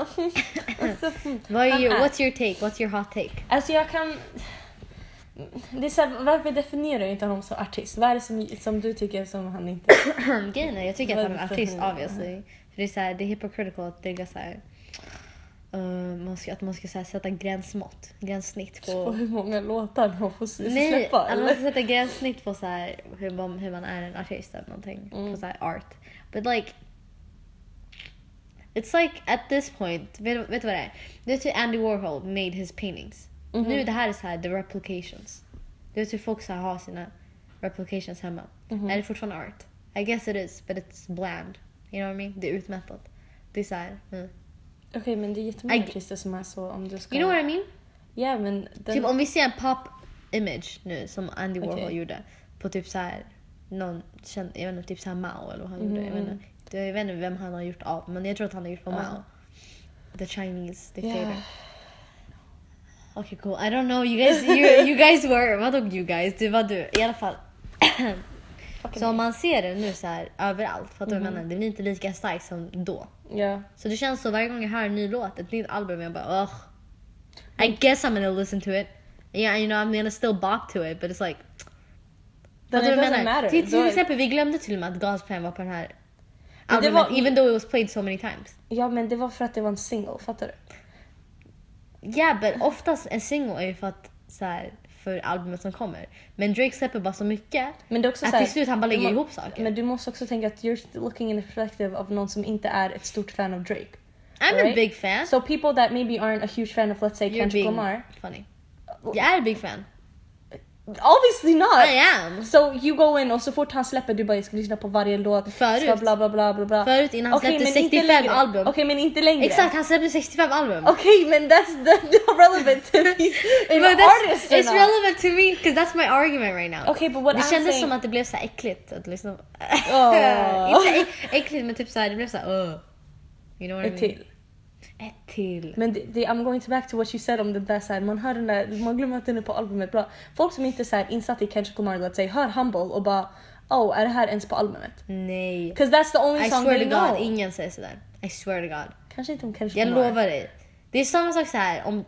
Speaker 2: alltså,
Speaker 3: Vad är
Speaker 2: han
Speaker 3: your,
Speaker 2: är-
Speaker 3: what's your take? What's your hot take?
Speaker 2: Alltså jag kan... Det är så här, varför definierar du inte honom som artist? Vad är det som, som du tycker som han inte...
Speaker 3: Grejen är, jag tycker att han är en
Speaker 2: Varför?
Speaker 3: artist obviously. För det är, så här, det är hypocritical att tänka så här, eh, man ska, att man ska så här, sätta gränsmått, gränssnitt
Speaker 2: Och
Speaker 3: på...
Speaker 2: hur många låtar han får s-
Speaker 3: Nej, alltså-
Speaker 2: släppa?
Speaker 3: att man
Speaker 2: eller?
Speaker 3: ska sätta gränssnitt på så här, hur, man, hur man är en artist eller någonting.
Speaker 2: Mm.
Speaker 3: På så här art. But like... It's like at this point, vet, vet du vad det är? Det är typ Andy Warhol made his paintings.
Speaker 2: Mhm.
Speaker 3: Nu det här är så här the replications. Det är typ folk så här har sina replications hemma.
Speaker 2: Mhm.
Speaker 3: Är det fortfarande art? I guess it is, but it's bland. You know what I mean? Det är utmättat. Det är såhär... Mm.
Speaker 2: Okej men det är jättemånga
Speaker 3: I-
Speaker 2: artister som är så om du ska...
Speaker 3: You know what I mean?
Speaker 2: Ja men... Den...
Speaker 3: Typ om vi ser en pop image nu som Andy Warhol
Speaker 2: Okej.
Speaker 3: gjorde på typ så här någon känd, jag vet inte, typ så här Mao eller vad han gjorde. Jag
Speaker 2: Mm.
Speaker 3: vet, inte, Det- jag vet inte vem han har gjort av men jag tror att han har gjort på Mao. The Chinese dictator.
Speaker 2: Yeah.
Speaker 3: Okej cool, I don't know, you guys, you, you guys were, vadå you guys, det var du. I alla fall. så om man ser det nu så här överallt, fattar du
Speaker 2: Mm-hmm.
Speaker 3: vad jag menar? Det blir inte lika starkt som då.
Speaker 2: Ja.
Speaker 3: Så det känns så varje gång jag hör en ny låt, ett nytt album, jag bara ugh. I guess I'm gonna listen to it. Yeah, you know I'm gonna still bop to it but it's like...
Speaker 2: Den
Speaker 3: Fattar du vad jag
Speaker 2: doesn't
Speaker 3: menar?
Speaker 2: matter.
Speaker 3: Till,
Speaker 2: Då
Speaker 3: till
Speaker 2: är-
Speaker 3: exempel, vi glömde till och med att God's Plan var på den här
Speaker 2: Men det
Speaker 3: albumet
Speaker 2: var-
Speaker 3: even though it was played so many times.
Speaker 2: Ja men det var för att det var en single, fattar du?
Speaker 3: Yeah but oftast en single är ju för att så här, för albumet som kommer. Men Drake släpper bara så mycket
Speaker 2: Men det är också
Speaker 3: att
Speaker 2: så här,
Speaker 3: till slut han bara
Speaker 2: du
Speaker 3: lägger
Speaker 2: må-
Speaker 3: ihop saker.
Speaker 2: Men du måste också tänka att you're looking in the perspective av någon som inte är ett stort fan av Drake.
Speaker 3: I'm a
Speaker 2: right?
Speaker 3: big fan.
Speaker 2: So people that maybe aren't a huge fan of let's say
Speaker 3: You're
Speaker 2: Kendrick
Speaker 3: being
Speaker 2: Lamar,
Speaker 3: funny. Jag är a big fan.
Speaker 2: obviously not.
Speaker 3: I am.
Speaker 2: So you go in och så fort han släpper du bara jag ska lyssna på varje låt.
Speaker 3: Förut.
Speaker 2: Ska bla bla bla bla bla.
Speaker 3: Förut innan han
Speaker 2: Okej,
Speaker 3: släppte
Speaker 2: men inte
Speaker 3: 65
Speaker 2: längre.
Speaker 3: album.
Speaker 2: Okej men inte längre.
Speaker 3: Exakt, han släppte 65 album.
Speaker 2: Okej men that's the, the relevant to these an
Speaker 3: But that's-
Speaker 2: artist
Speaker 3: it's
Speaker 2: or not.
Speaker 3: relevant to me because that's my argument right now.
Speaker 2: Okej but what
Speaker 3: det
Speaker 2: I'm
Speaker 3: kändes
Speaker 2: saying.
Speaker 3: som att det blev så här äckligt att lyssna på.
Speaker 2: Åh.
Speaker 3: Inte äck- äckligt men typ så här, det blev så här, "Ugh." You know what I
Speaker 2: Ett
Speaker 3: mean?
Speaker 2: till.
Speaker 3: Ett till.
Speaker 2: Men det, det, I'm going to back to what you said om den där så här, man hör den där, man glömmer att den är på albumet. Bra. Folk som inte är så här insatta i Kendrick Lamar, let's say, hör Humble och bara oh, är det här ens på albumet?
Speaker 3: Nej.
Speaker 2: Because that's the only
Speaker 3: I
Speaker 2: song
Speaker 3: swear
Speaker 2: they
Speaker 3: to
Speaker 2: know.
Speaker 3: god, ingen säger sådär. I swear to god.
Speaker 2: Kanske inte om Kendrick
Speaker 3: Jag
Speaker 2: Lamar.
Speaker 3: lovar dig. Det är samma sak så här om...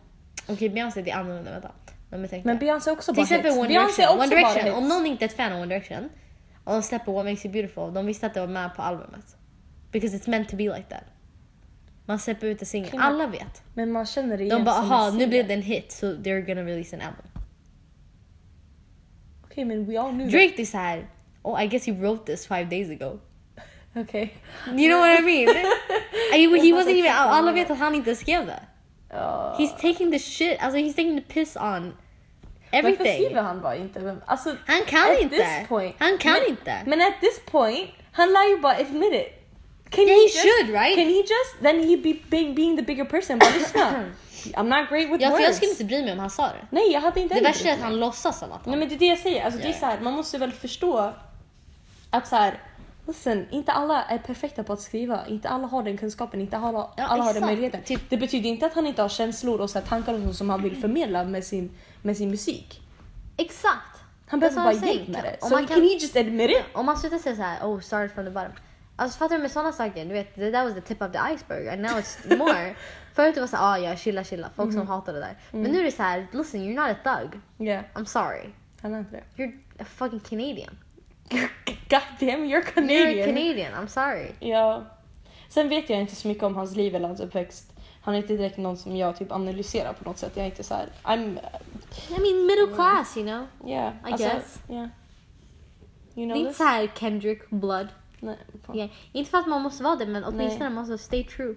Speaker 3: Okej, Beyoncé det är annorlunda. Vänta. Låt mig tänka.
Speaker 2: Men Beyoncé är också
Speaker 3: Till
Speaker 2: bara
Speaker 3: exempel
Speaker 2: hits.
Speaker 3: One
Speaker 2: Beyoncé är
Speaker 3: Direction. One
Speaker 2: också bara
Speaker 3: Direction. Om
Speaker 2: hits.
Speaker 3: någon inte är ett fan av One Direction och de släpper What Makes You Beautiful, de visste att det var med på albumet. Because it's meant to be like that. Man släpper ut en singel,
Speaker 2: Kvinna-
Speaker 3: alla vet.
Speaker 2: Men man känner det
Speaker 3: De
Speaker 2: igen
Speaker 3: bara
Speaker 2: som en
Speaker 3: aha, nu
Speaker 2: singel."
Speaker 3: blev det en hit so they're gonna release an album.
Speaker 2: Okej men we all knew
Speaker 3: Drake är så här. oh I guess he wrote this five days ago.
Speaker 2: that. Okej.
Speaker 3: You know what I mean? I,
Speaker 2: Jag
Speaker 3: he
Speaker 2: fattar
Speaker 3: wasn't even,
Speaker 2: exakt vad
Speaker 3: alla
Speaker 2: du
Speaker 3: vet att han inte skrev det.
Speaker 2: Ja.
Speaker 3: He's taking the shit, alltså he's taking the piss on
Speaker 2: Varför
Speaker 3: everything.
Speaker 2: skriver han bara inte? Vem- Alltså,
Speaker 3: Han kan
Speaker 2: at
Speaker 3: inte.
Speaker 2: This point,
Speaker 3: Han kan
Speaker 2: men,
Speaker 3: inte.
Speaker 2: Men at this point, han lär ju bara admit it. Can
Speaker 3: Yeah, he should, right?
Speaker 2: Can he just? Then he be, be being the bigger person. Bara lyssna. I'm not great with
Speaker 3: Ja, för
Speaker 2: words.
Speaker 3: jag skulle inte bry mig om han sa det.
Speaker 2: Nej, jag hade inte
Speaker 3: Det
Speaker 2: heller
Speaker 3: värsta är att
Speaker 2: brytt
Speaker 3: han
Speaker 2: mig.
Speaker 3: låtsas som att han...
Speaker 2: Nej men det är det jag säger. Alltså, det
Speaker 3: Ja,
Speaker 2: är
Speaker 3: ja.
Speaker 2: så här, man måste väl förstå att så här, listen, inte alla är perfekta på att skriva. Inte alla har den kunskapen, inte alla,
Speaker 3: Ja,
Speaker 2: alla har den
Speaker 3: exakt.
Speaker 2: möjligheten.
Speaker 3: Typ- Mm.
Speaker 2: Det betyder inte att han inte har känslor och så här, tankar och så som han vill förmedla med sin, med sin musik.
Speaker 3: Exakt!
Speaker 2: Han
Speaker 3: Det är
Speaker 2: behöver
Speaker 3: som
Speaker 2: bara
Speaker 3: jag säger.
Speaker 2: hjälp med det.
Speaker 3: Om
Speaker 2: So
Speaker 3: man
Speaker 2: can,
Speaker 3: kan-
Speaker 2: he just admit it?
Speaker 3: Om man slutar säga så här, oh start from the bottom. Alltså fattar du med sådana saker, du vet that was the tip of the iceberg and now it's more. Förut var det såhär, ah ja chilla chilla, folk som hatar det där. Men nu är det så här, listen you're not a thug.
Speaker 2: Yeah,
Speaker 3: I'm sorry.
Speaker 2: han är inte det.
Speaker 3: You're a fucking Canadian.
Speaker 2: God damn, you're
Speaker 3: You're a
Speaker 2: Canadian.
Speaker 3: Canadian, I'm sorry.
Speaker 2: Ja. Sen vet jag inte så mycket om hans liv eller hans uppväxt. Han är inte direkt någon som jag typ analyserar på något sätt. Jag är inte så här, I'm...
Speaker 3: I mean middle class you know.
Speaker 2: Yeah.
Speaker 3: I guess.
Speaker 2: Yeah. You
Speaker 3: Det
Speaker 2: know
Speaker 3: är inte
Speaker 2: this?
Speaker 3: såhär Kendrick blood.
Speaker 2: Nej, fan.
Speaker 3: Yeah. Inte för att man måste vara det men åtminstone
Speaker 2: Nej.
Speaker 3: man måste stay true.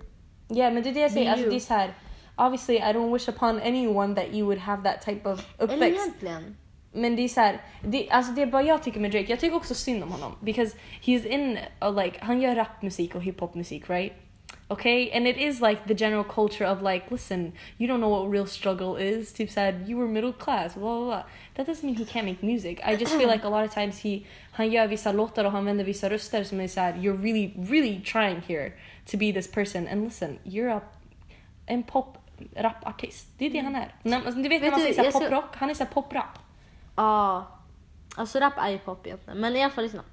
Speaker 2: Yeah, men det är det jag säger.
Speaker 3: Det är
Speaker 2: Alltså
Speaker 3: ju-
Speaker 2: det är så här. Obviously I don't wish upon anyone that you would have that type of
Speaker 3: Eller
Speaker 2: uppväxt.
Speaker 3: egentligen.
Speaker 2: Men det är så här, det, alltså det är bara jag tycker med Drake. Jag tycker också synd om honom. Because he's in, a, like, han gör rapmusik och hiphopmusik right? Okay, and it is like the general culture of like, listen, you don't know what real struggle is. Typ said, you were middle class, blah blah blah. That doesn't mean he can't make music. I just feel like a lot of times he, han gör vissa låtar och han vänder vissa röster som är såhär, you're really, really trying here to be this person. And listen, you're a, en pop rapartist. Det är det han är. När, alltså, du vet, när
Speaker 3: Mm. Vet
Speaker 2: man
Speaker 3: du,
Speaker 2: säger såhär
Speaker 3: jag så-
Speaker 2: poprock, han är såhär poprap.
Speaker 3: Ja. Alltså rap är ju pop egentligen. Men i alla fall lyssna.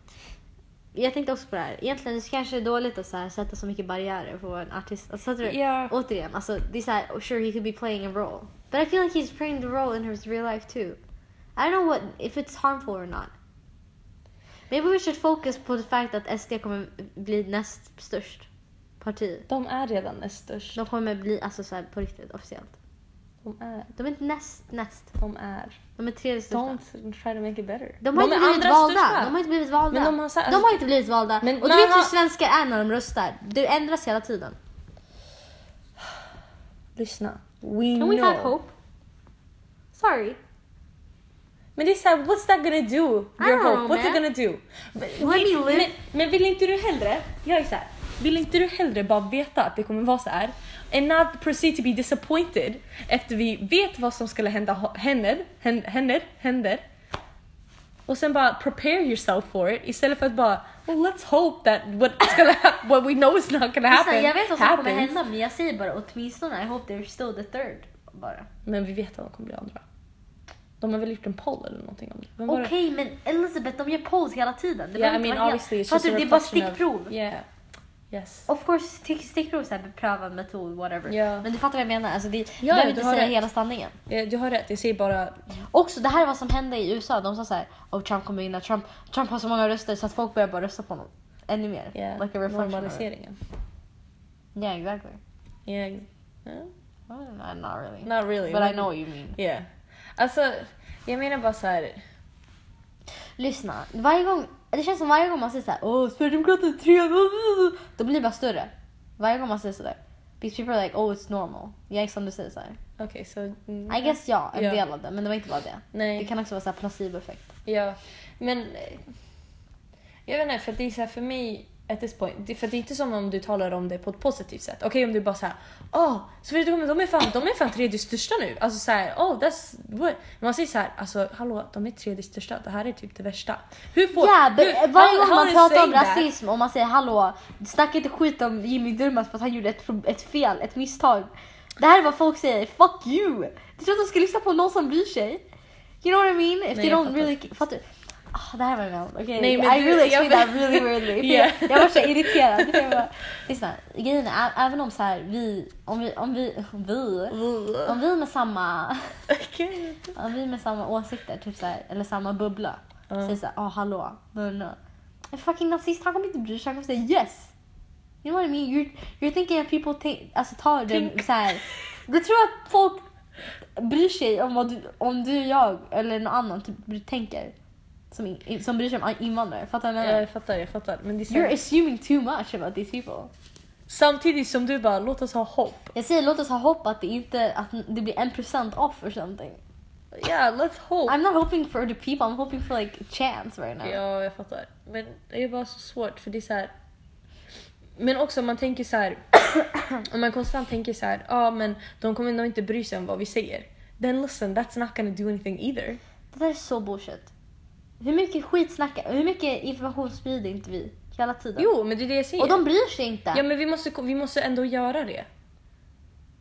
Speaker 3: Jag tänkte också på det här. Egentligen det kanske är dåligt att så här, sätta så mycket barriärer på en artist. Alltså, fattar du?
Speaker 2: Ja.
Speaker 3: Återigen, alltså, det är så här, oh, sure he could be playing a role. But I feel like he's playing the role in his real life too. I don't know what, if it's harmful or not. Maybe we should focus på the fact att SD kommer bli näst störst parti.
Speaker 2: De är redan näst störst.
Speaker 3: De kommer bli, alltså så här, på riktigt, officiellt.
Speaker 2: De är.
Speaker 3: De är inte näst, näst.
Speaker 2: De är.
Speaker 3: De är tredje största.
Speaker 2: Don't try to make it better.
Speaker 3: De har, inte
Speaker 2: är
Speaker 3: blivit
Speaker 2: andra
Speaker 3: valda.
Speaker 2: största.
Speaker 3: de har inte blivit valda.
Speaker 2: Men de har så här-
Speaker 3: De har inte blivit valda.
Speaker 2: Men
Speaker 3: och du
Speaker 2: man
Speaker 3: vet hur
Speaker 2: har-
Speaker 3: svenskar är när de röstar. Det ändras hela tiden.
Speaker 2: Lyssna. We
Speaker 3: Can
Speaker 2: know.
Speaker 3: we have hope? Sorry.
Speaker 2: Men det är såhär, what's that gonna do? Your
Speaker 3: don't
Speaker 2: hope,
Speaker 3: know,
Speaker 2: what's it
Speaker 3: man.
Speaker 2: gonna do? Men,
Speaker 3: Let
Speaker 2: vill-
Speaker 3: me live.
Speaker 2: men, men vill inte du hellre, jag är såhär, vill inte du hellre bara veta att det kommer vara så här? And not proceed to be disappointed efter vi vet vad som skulle hända, ho- händer, hän- händer, händer. Och sen bara prepare yourself for it istället för att bara well let's hope that what's gonna hap- what we know is not gonna
Speaker 3: Lisa,
Speaker 2: happen
Speaker 3: jag vet vad som kommer
Speaker 2: happens."
Speaker 3: hända men jag säger bara åtminstone I hope they're still the third. Bara.
Speaker 2: Men vi vet att de kommer bli andra. De har väl gjort en poll eller någonting om det. Vem var det?
Speaker 3: Okej men Elizabeth de gör polls hela tiden. Det
Speaker 2: Yeah, I
Speaker 3: behöver inte
Speaker 2: mean
Speaker 3: vara
Speaker 2: obviously
Speaker 3: helt-
Speaker 2: it's just
Speaker 3: Fattar
Speaker 2: a
Speaker 3: du? Det är bara
Speaker 2: reflection of-
Speaker 3: stickprov.
Speaker 2: Yeah. Yes.
Speaker 3: Of course stick, stickprov är så här beprövad metod whatever.
Speaker 2: Ja.
Speaker 3: Men du fattar vad jag menar. Alltså, det, du
Speaker 2: ja,
Speaker 3: behöver
Speaker 2: du
Speaker 3: inte
Speaker 2: har
Speaker 3: säga
Speaker 2: rätt.
Speaker 3: hela sanningen.
Speaker 2: Eh, Du har rätt, jag säger bara...
Speaker 3: Också det här var som hände i USA. De sa så här, oh Trump kommer vinna. Trump, Trump har så många röster så att folk börjar bara rösta på honom. Ännu mer.
Speaker 2: Yeah,
Speaker 3: like a reflection. of it.
Speaker 2: normaliseringen.
Speaker 3: Yeah, exactly.
Speaker 2: Yeah. Yeah.
Speaker 3: I don't know, not really.
Speaker 2: Not really.
Speaker 3: But I know what you mean.
Speaker 2: Yeah. Alltså, jag menar bara så här.
Speaker 3: Lyssna, varje gång, det känns som varje gång man säger så här, åh Sverigedemokraterna är tre, uh, uh", då blir det bara större. Varje gång man säger sådär. Because people are like, oh it's normal. Jag är som du säger såhär.
Speaker 2: Okej, så... mm,
Speaker 3: I guess ja, en
Speaker 2: Ja.
Speaker 3: del av det. Men det var inte bara det.
Speaker 2: Nej.
Speaker 3: Det kan också vara så här placeboeffekt.
Speaker 2: Ja, men... eh, Jag vet inte, för det är så här, för mig... at this point. Det, för det är inte som om du talar om det på ett positivt sätt. Okej om du bara såhär, åh, så vet du, men de är fan, de är fan tredje största nu. Alltså såhär, åh, oh, that's what. Man säger såhär, alltså hallå, de är tredje största, det här är typ det värsta. Hur får...
Speaker 3: Yeah, but
Speaker 2: hur-
Speaker 3: varje
Speaker 2: how-
Speaker 3: gång
Speaker 2: how
Speaker 3: man
Speaker 2: is
Speaker 3: pratar
Speaker 2: saying
Speaker 3: om
Speaker 2: that?
Speaker 3: rasism och man säger hallå, snacka inte skit om Jimmy Durmaz för att han gjorde ett, pro- ett fel, ett misstag. Det här är vad folk säger, fuck you! Du tror att de ska lyssna på någon som bryr sig? You know what I mean? If
Speaker 2: Nej,
Speaker 3: they
Speaker 2: jag
Speaker 3: don't
Speaker 2: fattar.
Speaker 3: really... Fattar Ah, det här var en okay,
Speaker 2: Nej, men
Speaker 3: I
Speaker 2: du-
Speaker 3: really
Speaker 2: jag
Speaker 3: explained
Speaker 2: vet-
Speaker 3: that really weirdly.
Speaker 2: Yeah.
Speaker 3: Jag var så irriterad. Jag bara, Lyssna, grejen är ä- även om så här, vi, om vi, om vi, om vi, om vi med samma
Speaker 2: Okej.
Speaker 3: om vi med samma åsikter, typ så här, eller samma bubbla, säger såhär ah hallå, no no. En fucking nazist han kommer inte bry sig, han kommer säga yes. You know what I mean? You're, you're thinking that people think, alltså tar det såhär. Du tror att folk bryr sig om vad du, om du, jag eller någon annan typ, tänker. Som, in- som bryr sig om invandrare, fattar du vad jag menar?
Speaker 2: Jag fattar, jag fattar. Men det är
Speaker 3: You're
Speaker 2: sant.
Speaker 3: assuming too much about these people.
Speaker 2: Samtidigt som du bara, låt oss ha hopp.
Speaker 3: Jag säger låt oss ha hopp att det inte att det blir 1% off or something.
Speaker 2: Yeah, let's hope.
Speaker 3: I'm not hoping for the people, I'm hoping for like chance right now.
Speaker 2: Ja, jag fattar. Men det är bara så svårt för det är så här. Men också om man tänker så här. om man konstant tänker så här, ja ah, men de kommer nog inte bry sig om vad vi säger. Then listen, that's not gonna do anything either.
Speaker 3: Det där är så bullshit. Hur mycket skit snackar, hur mycket information sprider inte vi hela tiden?
Speaker 2: Jo, men det är det jag säger.
Speaker 3: Och de bryr sig inte.
Speaker 2: Ja men vi måste, vi måste ändå göra det.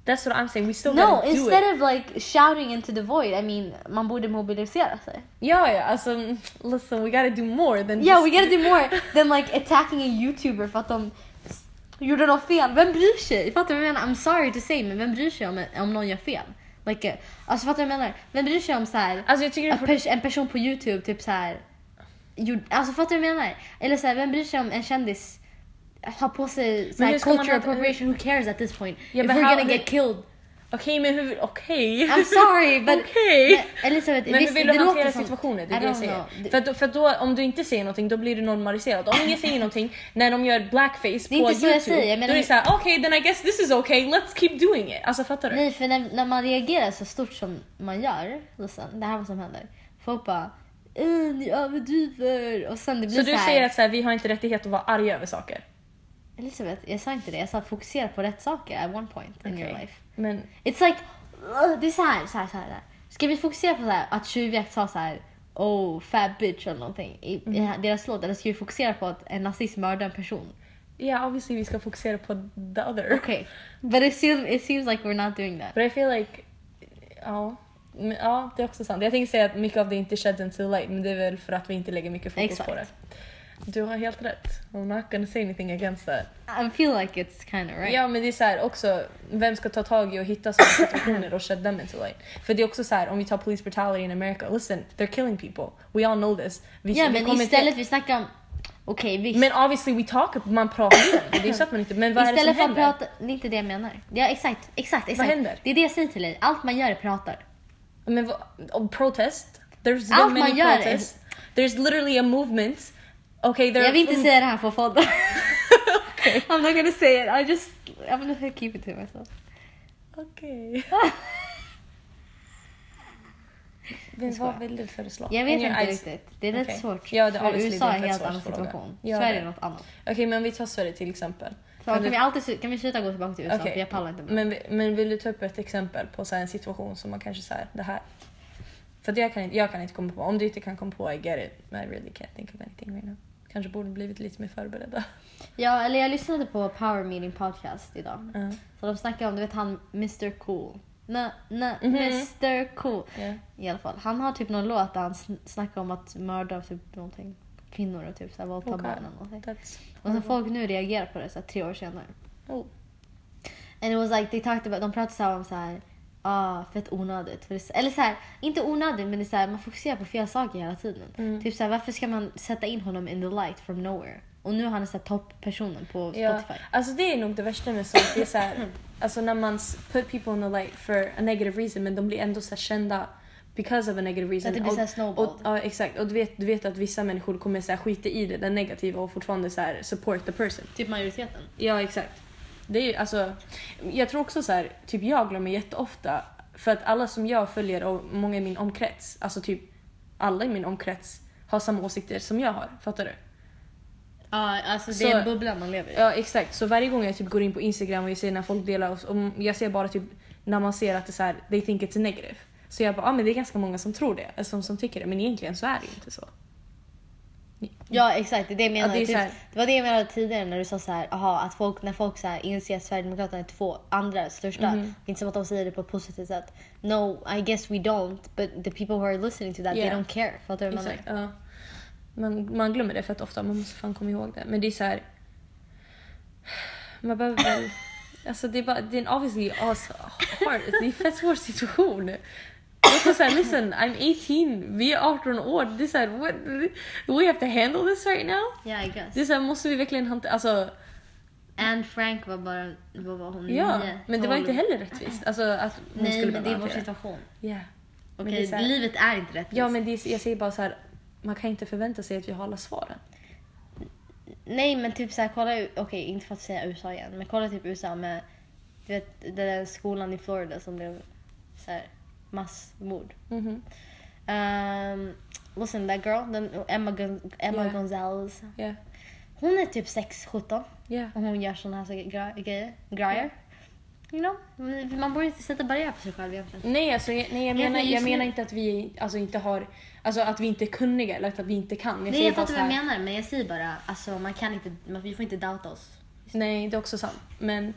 Speaker 2: That's what I'm saying, we still
Speaker 3: no,
Speaker 2: gotta do it.
Speaker 3: instead of like shouting into the void, I mean, man borde mobilisera sig.
Speaker 2: Ja, ja, alltså listen, we gotta do more than
Speaker 3: Yeah, we
Speaker 2: just...
Speaker 3: gotta do more than like attacking a youtuber för att de s- gjorde något fel. Vem bryr sig? Fattar du vad jag menar? I'm sorry to say, men vem bryr sig om, om någon gör fel? Like, eh, alltså fattar du vad jag menar? Vem bryr sig om så här?
Speaker 2: Alltså jag tycker det
Speaker 3: en,
Speaker 2: är
Speaker 3: pers- en person på Youtube typ så här. gjord- Alltså fattar du vad jag menar? Eller så här, vem bryr sig om en kändis har på sig så
Speaker 2: Men
Speaker 3: här,
Speaker 2: hur ska man
Speaker 3: culture
Speaker 2: ha-
Speaker 3: appropriation? Who cares at this point?
Speaker 2: Ja,
Speaker 3: If
Speaker 2: men
Speaker 3: we're
Speaker 2: how-
Speaker 3: gonna get killed.
Speaker 2: Okej men hur, okej.
Speaker 3: I'm sorry but...
Speaker 2: Okej.
Speaker 3: Men, Elisabeth,
Speaker 2: Men hur
Speaker 3: visst,
Speaker 2: vill du
Speaker 3: det låter
Speaker 2: hantera
Speaker 3: som-
Speaker 2: situationer? Det
Speaker 3: I
Speaker 2: är det jag
Speaker 3: don't
Speaker 2: säger.
Speaker 3: know. Det-
Speaker 2: För, att, då- för att då, om du inte säger någonting då blir du normaliserad. Om ingen säger någonting när de gör blackface på
Speaker 3: är inte så
Speaker 2: youtube
Speaker 3: jag säger, jag menar-
Speaker 2: då är det såhär okej then I guess this is okay, let's keep doing it. Alltså fattar du?
Speaker 3: Nej, för när, när man reagerar så stort som man gör, listen, det här är vad som händer. Folk bara "Ey, ni överdriver och sen det blir
Speaker 2: så
Speaker 3: så,
Speaker 2: du
Speaker 3: här,
Speaker 2: säger att så här, vi har inte rättighet att vara arga över saker?
Speaker 3: Elisabeth, jag sa inte det, jag sa fokusera på rätt saker at one point in your
Speaker 2: Okej.
Speaker 3: life.
Speaker 2: Men
Speaker 3: It's like, ugh, det är så här, så här, så här. så här. Ska vi fokusera på så här, att Tjuvjakt sa så här oh fat bitch eller någonting i, i
Speaker 2: Mm.
Speaker 3: deras låt eller ska vi fokusera på att en nazist mördar en person?
Speaker 2: ja yeah, obviously vi ska fokusera på the other.
Speaker 3: Okej, but it seems, it seems like we're not doing that.
Speaker 2: But I feel like, ja. Men, ja, det är också sant. Jag tänkte säga att mycket av det inte sheds until light men det är väl för att vi inte lägger mycket fokus på det.
Speaker 3: Exakt.
Speaker 2: Du har helt rätt. I'm not gonna say anything against that.
Speaker 3: I feel like it's kind of right.
Speaker 2: Ja men det är så här också, vem ska ta tag i och hitta sådana situationer och shed them into light? För det är också så här, om vi tar police brutality in America, listen, they're killing people. We all know this. Vi,
Speaker 3: Ja
Speaker 2: vi
Speaker 3: men
Speaker 2: kommer
Speaker 3: istället vi snackar om... Okej visst.
Speaker 2: Till, men obviously we talk, man pratar om det. Det är så att man inte, men vad är det
Speaker 3: istället
Speaker 2: som
Speaker 3: för att
Speaker 2: händer?
Speaker 3: prata... Det är inte det jag menar. Ja exakt, exakt, exakt.
Speaker 2: händer?
Speaker 3: Det är det jag säger till dig. Allt man gör är pratar.
Speaker 2: Men vad, om protest, there's been
Speaker 3: Allt man
Speaker 2: many
Speaker 3: gör är-
Speaker 2: protests. There's literally a movement. Okay, there
Speaker 3: Jag vill inte säga det här på podden. I'm not gonna say it. I just... I'm gonna keep it to myself.
Speaker 2: Okej. Men
Speaker 3: skojar.
Speaker 2: vad vill du föreslå?
Speaker 3: Jag vet
Speaker 2: In your
Speaker 3: inte
Speaker 2: eyes.
Speaker 3: riktigt. Det är rätt
Speaker 2: Okej.
Speaker 3: svårt.
Speaker 2: Ja, det-
Speaker 3: för
Speaker 2: obviously,
Speaker 3: USA
Speaker 2: det
Speaker 3: är
Speaker 2: är
Speaker 3: en
Speaker 2: en
Speaker 3: helt
Speaker 2: rätt
Speaker 3: annan
Speaker 2: svår fråga.
Speaker 3: situation.
Speaker 2: Ja,
Speaker 3: Sverige
Speaker 2: det
Speaker 3: är
Speaker 2: är.
Speaker 3: något annat.
Speaker 2: Okej men om vi tar Sverige till exempel.
Speaker 3: Så kan, vi alltid, kan vi sluta gå tillbaka till USA?
Speaker 2: Okej. Mm.
Speaker 3: För liksom. jag pallar inte med.
Speaker 2: men, vi- men vill du ta upp ett exempel på så här en situation som man kanske säger det här. För att jag kan, inte- jag kan inte komma på, om du inte kan komma på I get it, but I really can't think of anything right now. Kanske borde blivit lite mer förberedda.
Speaker 3: Ja, eller jag lyssnade på Power Meeting Podcast idag.
Speaker 2: Ja.
Speaker 3: Så de snackar om, du vet han Mr Cool. Nä, nä,
Speaker 2: Mhm.
Speaker 3: Mr Cool.
Speaker 2: Ja.
Speaker 3: I alla fall. Han har typ någon låt där han sn- snackar om att mörda typ någonting. Kvinnor och typ så här våldta
Speaker 2: Okej.
Speaker 3: barn eller någonting.
Speaker 2: That's...
Speaker 3: Och så Alltså, folk nu reagerar på det så här, tre år senare.
Speaker 2: Mm. Oh.
Speaker 3: And it was like, they talked about, de pratade så här om så här, ah, fett onödigt. För det, är så- eller så här, inte onödigt men det är så här, man fokuserar på fel saker hela tiden.
Speaker 2: Mm.
Speaker 3: Typ så här, varför ska man sätta in honom in the light from nowhere? Och nu är han så här topppersonen på
Speaker 2: Ja,
Speaker 3: Spotify.
Speaker 2: alltså det är nog det värsta med sånt. Det är så här, alltså när man s- put people in the light for a negative reason men de blir ändå så här kända because of a negative reason.
Speaker 3: Att det blir
Speaker 2: Och-
Speaker 3: så här snowball.
Speaker 2: Och, ja exakt, och du vet, du vet att vissa människor kommer så här skita i det, den negativa och fortfarande så här support the person.
Speaker 3: Typ majoriteten.
Speaker 2: Ja exakt. Det är ju alltså, jag tror också så här, typ jag glömmer jätteofta för att alla som jag följer och många i min omkrets, alltså typ alla i min omkrets har samma åsikter som jag har, fattar du?
Speaker 3: Ja, alltså det är
Speaker 2: Så-
Speaker 3: en bubbla man lever i.
Speaker 2: Ja exakt, så varje gång jag typ går in på Instagram och jag ser när folk delar och, och jag ser bara typ när man ser att det är så här, they think it's negative. Så jag bara, ah, men det är ganska många som tror det, eller som, som tycker det, men egentligen så är det ju inte så.
Speaker 3: Ja exakt, det, är det, jag menade.
Speaker 2: det är
Speaker 3: typ,
Speaker 2: så här-
Speaker 3: det var det jag menade tidigare när du sa så här, aha, att folk, när folk så här inser att Sverigedemokraterna är två andra största,
Speaker 2: Mhm.
Speaker 3: det är inte som att de säger det på ett positivt sätt. No, I guess we don't, but the people who are listening to that,
Speaker 2: Yeah.
Speaker 3: they don't care. Fattar du vad jag menar?
Speaker 2: Exakt, ja. Man, man glömmer det fett ofta, man måste fan komma ihåg det. Men det är så här. Man behöver väl... Alltså det är, bara, det är en obviously as hard, det är en fett svår situation. Jag kan säga listen, I'm 18, vi är 18 år. Det är såhär, what, we have to handle this right now?
Speaker 3: Yeah, I guess.
Speaker 2: Det är såhär, måste vi verkligen hantera, alltså
Speaker 3: Anne Frank var bara, vad var hon?
Speaker 2: ja.
Speaker 3: Nio,
Speaker 2: Men det var
Speaker 3: tolv.
Speaker 2: inte heller rättvist. Alltså att hon
Speaker 3: Mm. Nej,
Speaker 2: skulle
Speaker 3: men det är
Speaker 2: behöva
Speaker 3: vår
Speaker 2: hantera.
Speaker 3: situation.
Speaker 2: Ja. Men
Speaker 3: Okej,
Speaker 2: det är så här-
Speaker 3: livet är inte rättvist.
Speaker 2: Ja men det är, jag säger bara så här. man kan inte förvänta sig att vi har alla svaren.
Speaker 3: Nej men typ såhär, kolla, okej inte för att säga USA igen, men kolla typ USA med du vet, den där skolan i Florida som blev såhär massmord.
Speaker 2: Mhm.
Speaker 3: Um, listen that girl, den, Emma, Gon- Emma
Speaker 2: Yeah.
Speaker 3: Gonzalez.
Speaker 2: Ja.
Speaker 3: Hon är typ 6-17
Speaker 2: Ja.
Speaker 3: och hon gör såna här saker- gra- grejer. grejer. You know? Men Man borde inte sätta barriär på sig själv egentligen.
Speaker 2: Nej, alltså, jag- nej jag,
Speaker 3: men
Speaker 2: menar, jag
Speaker 3: just nu-
Speaker 2: menar inte att vi alltså, inte har, alltså att vi inte är kunniga eller att vi inte kan. Jag
Speaker 3: Nej
Speaker 2: säger
Speaker 3: jag
Speaker 2: bara
Speaker 3: fattar
Speaker 2: så
Speaker 3: vad
Speaker 2: här-
Speaker 3: du menar men jag säger bara, alltså man kan inte, man, vi får inte doubta oss.
Speaker 2: Nej, det är också sant. Men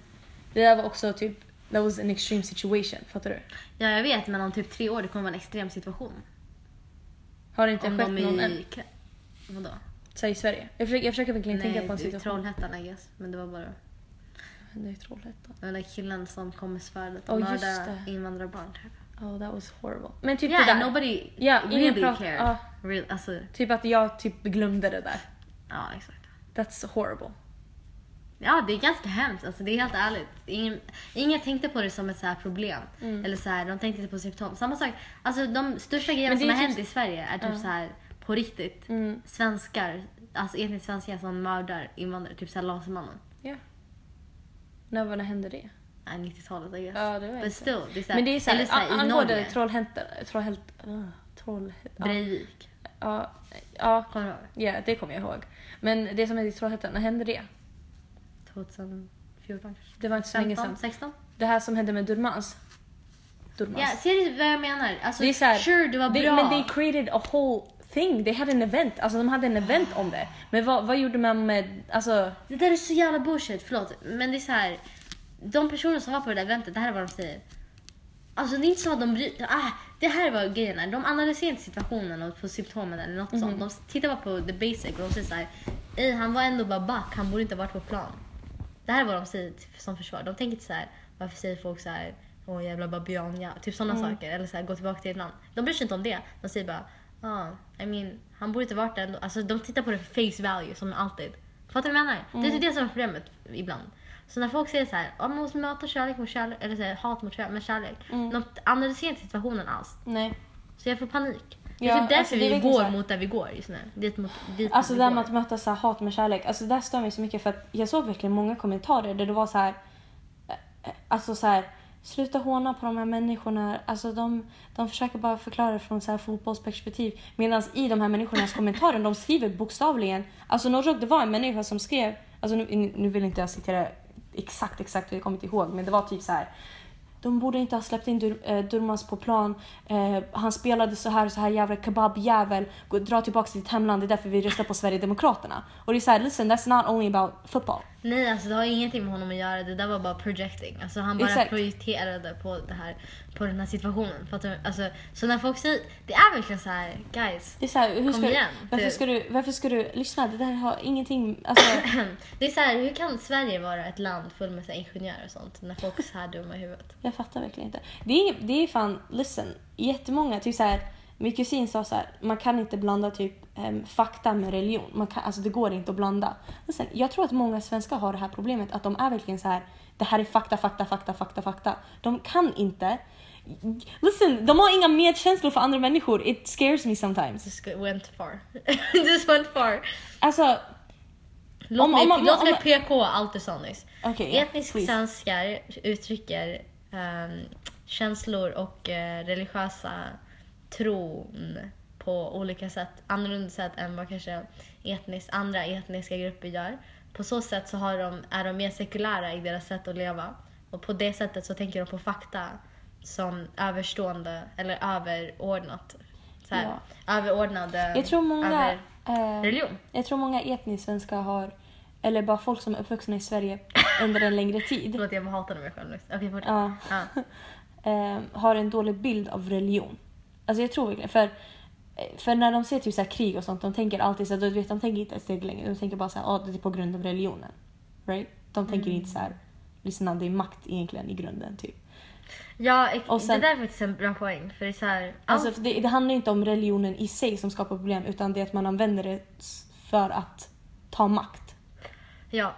Speaker 2: det där var också typ, that was an extreme situation, fattar du?
Speaker 3: Ja jag vet men om typ tre år det kommer vara en extrem situation.
Speaker 2: Har det inte
Speaker 3: Om
Speaker 2: skett
Speaker 3: de
Speaker 2: någon
Speaker 3: är
Speaker 2: än,
Speaker 3: i... Vadå?
Speaker 2: så här, i Sverige? Jag försöker, jag försöker verkligen tänka på en
Speaker 3: det är
Speaker 2: situation.
Speaker 3: Trollhättan I guess. Men det var bara
Speaker 2: Det är Trollhättan.
Speaker 3: den där killen som kom i svärdet och
Speaker 2: Ja, just
Speaker 3: mördade
Speaker 2: det.
Speaker 3: invandrarbarn. typ.
Speaker 2: Oh, that was horrible. Men typ det
Speaker 3: Yeah,
Speaker 2: där,
Speaker 3: nobody
Speaker 2: Ja, ingen
Speaker 3: really
Speaker 2: pratar-
Speaker 3: cared.
Speaker 2: ja.
Speaker 3: Real, alltså,
Speaker 2: typ att jag typ glömde det där.
Speaker 3: ja exakt.
Speaker 2: That's horrible.
Speaker 3: Ja det är ganska hemskt, alltså, det är helt ärligt. Ingen, ingen tänkte på det som ett så här problem.
Speaker 2: Mm.
Speaker 3: Eller så här, de tänkte inte på symptom. Samma sak, alltså de största grejerna
Speaker 2: Men det
Speaker 3: som
Speaker 2: är
Speaker 3: har
Speaker 2: typ- Mm.
Speaker 3: hänt i Sverige är typ så här på riktigt. Svenskar, alltså etniskt svenskar som mördar invandrare. Typ såhär Lasermannen.
Speaker 2: Ja. När, var- när hände det?
Speaker 3: Nej, 90-talet I guess.
Speaker 2: Ja, det var
Speaker 3: But
Speaker 2: inte-
Speaker 3: still, det är så här,
Speaker 2: Men det är såhär,
Speaker 3: eller så här, i
Speaker 2: angående
Speaker 3: Norge.
Speaker 2: Trollhättan, Trollhättan, uh, Trollhättan,
Speaker 3: Breivik.
Speaker 2: ah, ja, ja,
Speaker 3: Kommer du ihåg?
Speaker 2: Ja, det kommer jag ihåg. Men det som hände i Trollhättan, när hände det?
Speaker 3: 2014 kanske?
Speaker 2: Det var inte så länge
Speaker 3: 15,
Speaker 2: sedan.
Speaker 3: 16?
Speaker 2: Det här som hände med Durmaz. Durmaz.
Speaker 3: Ja, ser du vad jag menar? Alltså,
Speaker 2: Det är så här,
Speaker 3: sure, det var
Speaker 2: they-
Speaker 3: bra.
Speaker 2: Men they created a whole thing. They had an event. Alltså de hade en event om det. Men vad, vad gjorde man med, alltså,
Speaker 3: Det där är så jävla bullshit, förlåt. Men det är så här. De personer som var på det där eventet, det här är vad de säger. Alltså det är inte så att de bryr ah, Det här var grejen. är. De analyserar inte situationen och på symptomen eller något sånt. De tittar bara på the basic och de säger så här. "Ey, han var ändå bara back, han borde inte ha varit på plan. Det här är vad de säger till- som försvar. De tänker inte så här. varför säger folk så här. åh jävla babian, ja. Typ sådana
Speaker 2: Mm.
Speaker 3: saker. Eller så här, gå tillbaka till ett land. De bryr sig inte om det. De säger bara, ah, I mean, han borde inte varit där ändå. Alltså de tittar på det för face value som alltid. Fattar du vad jag menar?
Speaker 2: Mm.
Speaker 3: Det är det som är problemet ibland. Så när folk säger så här, "Ja, man måste möta kärlek mot kärlek, eller så här, hat mot kärlek, med kärlek.
Speaker 2: Mm.
Speaker 3: De analyserar inte situationen alls.
Speaker 2: nej.
Speaker 3: Så jag får panik. Det
Speaker 2: Ja,
Speaker 3: är typ därför
Speaker 2: alltså, det är
Speaker 3: vi
Speaker 2: verkligen
Speaker 3: går
Speaker 2: så här-
Speaker 3: mot där vi går just nu. Dit mot, dit
Speaker 2: Alltså
Speaker 3: vi
Speaker 2: det där
Speaker 3: går.
Speaker 2: med att möta så här hat med kärlek. Alltså det där stör mig så mycket för att jag såg verkligen många kommentarer där det var så här. eh, eh, Alltså så här. Sluta håna på de här människorna. Alltså de, de försöker bara förklara det från så här fotbollsperspektiv. Medan i de här människornas kommentarer, de skriver bokstavligen. Alltså Norrog, det var en människa som skrev. Alltså nu, nu vill inte jag citera exakt exakt hur jag kommer inte ihåg. Men det var typ så här. De borde inte ha släppt in Dur- eh, Durmaz på plan. Eh, han spelade så här så här jävla kebabjävel. Gå, dra tillbaka till ditt hemland. Det är därför vi röstar på Sverigedemokraterna. Och det är såhär, listen that's not only about football.
Speaker 3: Nej, alltså det har ingenting med honom att göra. Det där var bara projecting. Alltså han bara
Speaker 2: Exakt.
Speaker 3: projekterade på, det här, på den här situationen. Fattar du? Alltså, så när folk säger... Det är verkligen så här, guys.
Speaker 2: Det är såhär, hur
Speaker 3: Kom
Speaker 2: ska,
Speaker 3: igen,
Speaker 2: du, varför
Speaker 3: du.
Speaker 2: ska du, varför ska du, lyssna det där har ingenting, alltså
Speaker 3: Det är så här, hur kan Sverige vara ett land fullt med så här, ingenjörer och sånt när folk är så här dumma i huvudet?
Speaker 2: jag fattar verkligen inte. Det är, det är fan, listen, jättemånga, typ såhär, min kusin sa såhär, man kan inte blanda typ em, fakta med religion. Man kan, alltså det går inte att blanda. Listen, jag tror att många svenskar har det här problemet att de är verkligen så här. det här är fakta, fakta, fakta, fakta, fakta. De kan inte Listen, de har inga medkänslor för andra människor. It scares me sometimes.
Speaker 3: Just go- went far. Just went far.
Speaker 2: Alltså,
Speaker 3: Låt
Speaker 2: Om-
Speaker 3: mig,
Speaker 2: om man-
Speaker 3: låt
Speaker 2: om
Speaker 3: mig
Speaker 2: man-
Speaker 3: PK allt du sa nyss.
Speaker 2: Okej, ja,
Speaker 3: Etniska
Speaker 2: please.
Speaker 3: svenskar uttrycker ehm, känslor och eh, religiösa tron på olika sätt, annorlunda sätt än vad kanske etnisk, andra etniska grupper gör. På så sätt så har de, är de mer sekulära i deras sätt att leva. Och på det sättet så tänker de på fakta som överstående eller överordnat. Så här, Överordnade
Speaker 2: Jag tror många...
Speaker 3: över
Speaker 2: eh,
Speaker 3: religion.
Speaker 2: jag tror många etnisk-svenskar har, eller bara folk som är uppvuxna i Sverige under en längre tid,
Speaker 3: Förlåt, jag hatar mig själv nu. Okej, fortsätt.
Speaker 2: Ja.
Speaker 3: Ja.
Speaker 2: eh, har en dålig bild av religion. Alltså jag tror verkligen, för, för när de ser typ så här krig och sånt, de tänker alltid så här, du vet, de tänker inte ett steg längre, de tänker bara så här, ah, det är på grund av religionen. Right? De tänker
Speaker 3: Mm.
Speaker 2: inte så här, lyssna, det är makt egentligen i grunden typ.
Speaker 3: Ja, ex-
Speaker 2: Och sen-
Speaker 3: det där är faktiskt en bra poäng. För det är så här,
Speaker 2: Alltså, för det, det handlar inte om religionen i sig som skapar problem utan det är att man använder det s- för att ta makt.
Speaker 3: ja.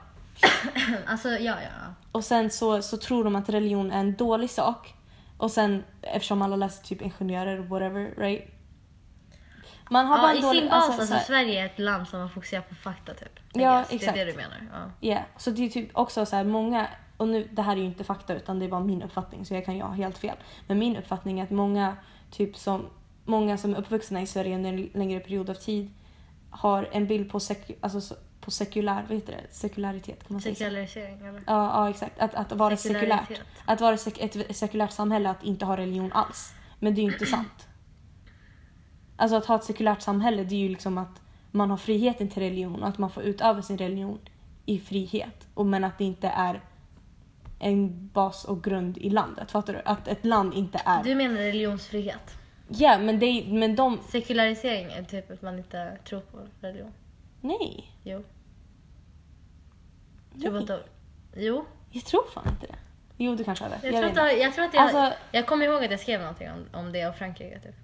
Speaker 3: alltså, ja, ja. ja.
Speaker 2: Och sen så, så tror de att religion är en dålig sak. Och sen eftersom alla läser typ ingenjörer och whatever, right? Man har bara
Speaker 3: Ja,
Speaker 2: en
Speaker 3: I
Speaker 2: dålig...
Speaker 3: sin bas, alltså,
Speaker 2: så här-
Speaker 3: Sverige är ett land som har fokuserat på fakta typ. I
Speaker 2: Ja,
Speaker 3: guess.
Speaker 2: exakt.
Speaker 3: Det är det du menar. Ja.
Speaker 2: Ja, så det är typ också så här många, och nu, det här är ju inte fakta utan det är bara min uppfattning så jag kan ju ha helt fel. Men min uppfattning är att många, typ som, många som är uppvuxna i Sverige under en längre period av tid har en bild på, sek, alltså, så- på sekulär, vad heter det? sekularitet kan man säga. så?
Speaker 3: Sekularisering eller?
Speaker 2: Ja, ja exakt. Att, att vara
Speaker 3: Sekularitet.
Speaker 2: sekulärt. Att vara sek- ett sekulärt samhälle att inte ha religion alls. Men det är ju inte sant. Alltså att ha ett sekulärt samhälle det är ju liksom att man har friheten till religion och att man får utöva sin religion i frihet. Och men att det inte är en bas och grund i landet. Fattar du? Att ett land inte är...
Speaker 3: Du menar religionsfrihet?
Speaker 2: Ja, men, det, är- men de...
Speaker 3: Sekularisering är typ att man inte tror på religion.
Speaker 2: Nej.
Speaker 3: Jo.
Speaker 2: Nej.
Speaker 3: Tror på att de- Jo.
Speaker 2: Jag tror fan inte det. Jo, du kanske har det.
Speaker 3: Jag,
Speaker 2: vet
Speaker 3: tror,
Speaker 2: inte.
Speaker 3: att, jag- jag tror att jag...
Speaker 2: Alltså-
Speaker 3: jag kommer ihåg att jag skrev någonting om, om det och Frankrike typ.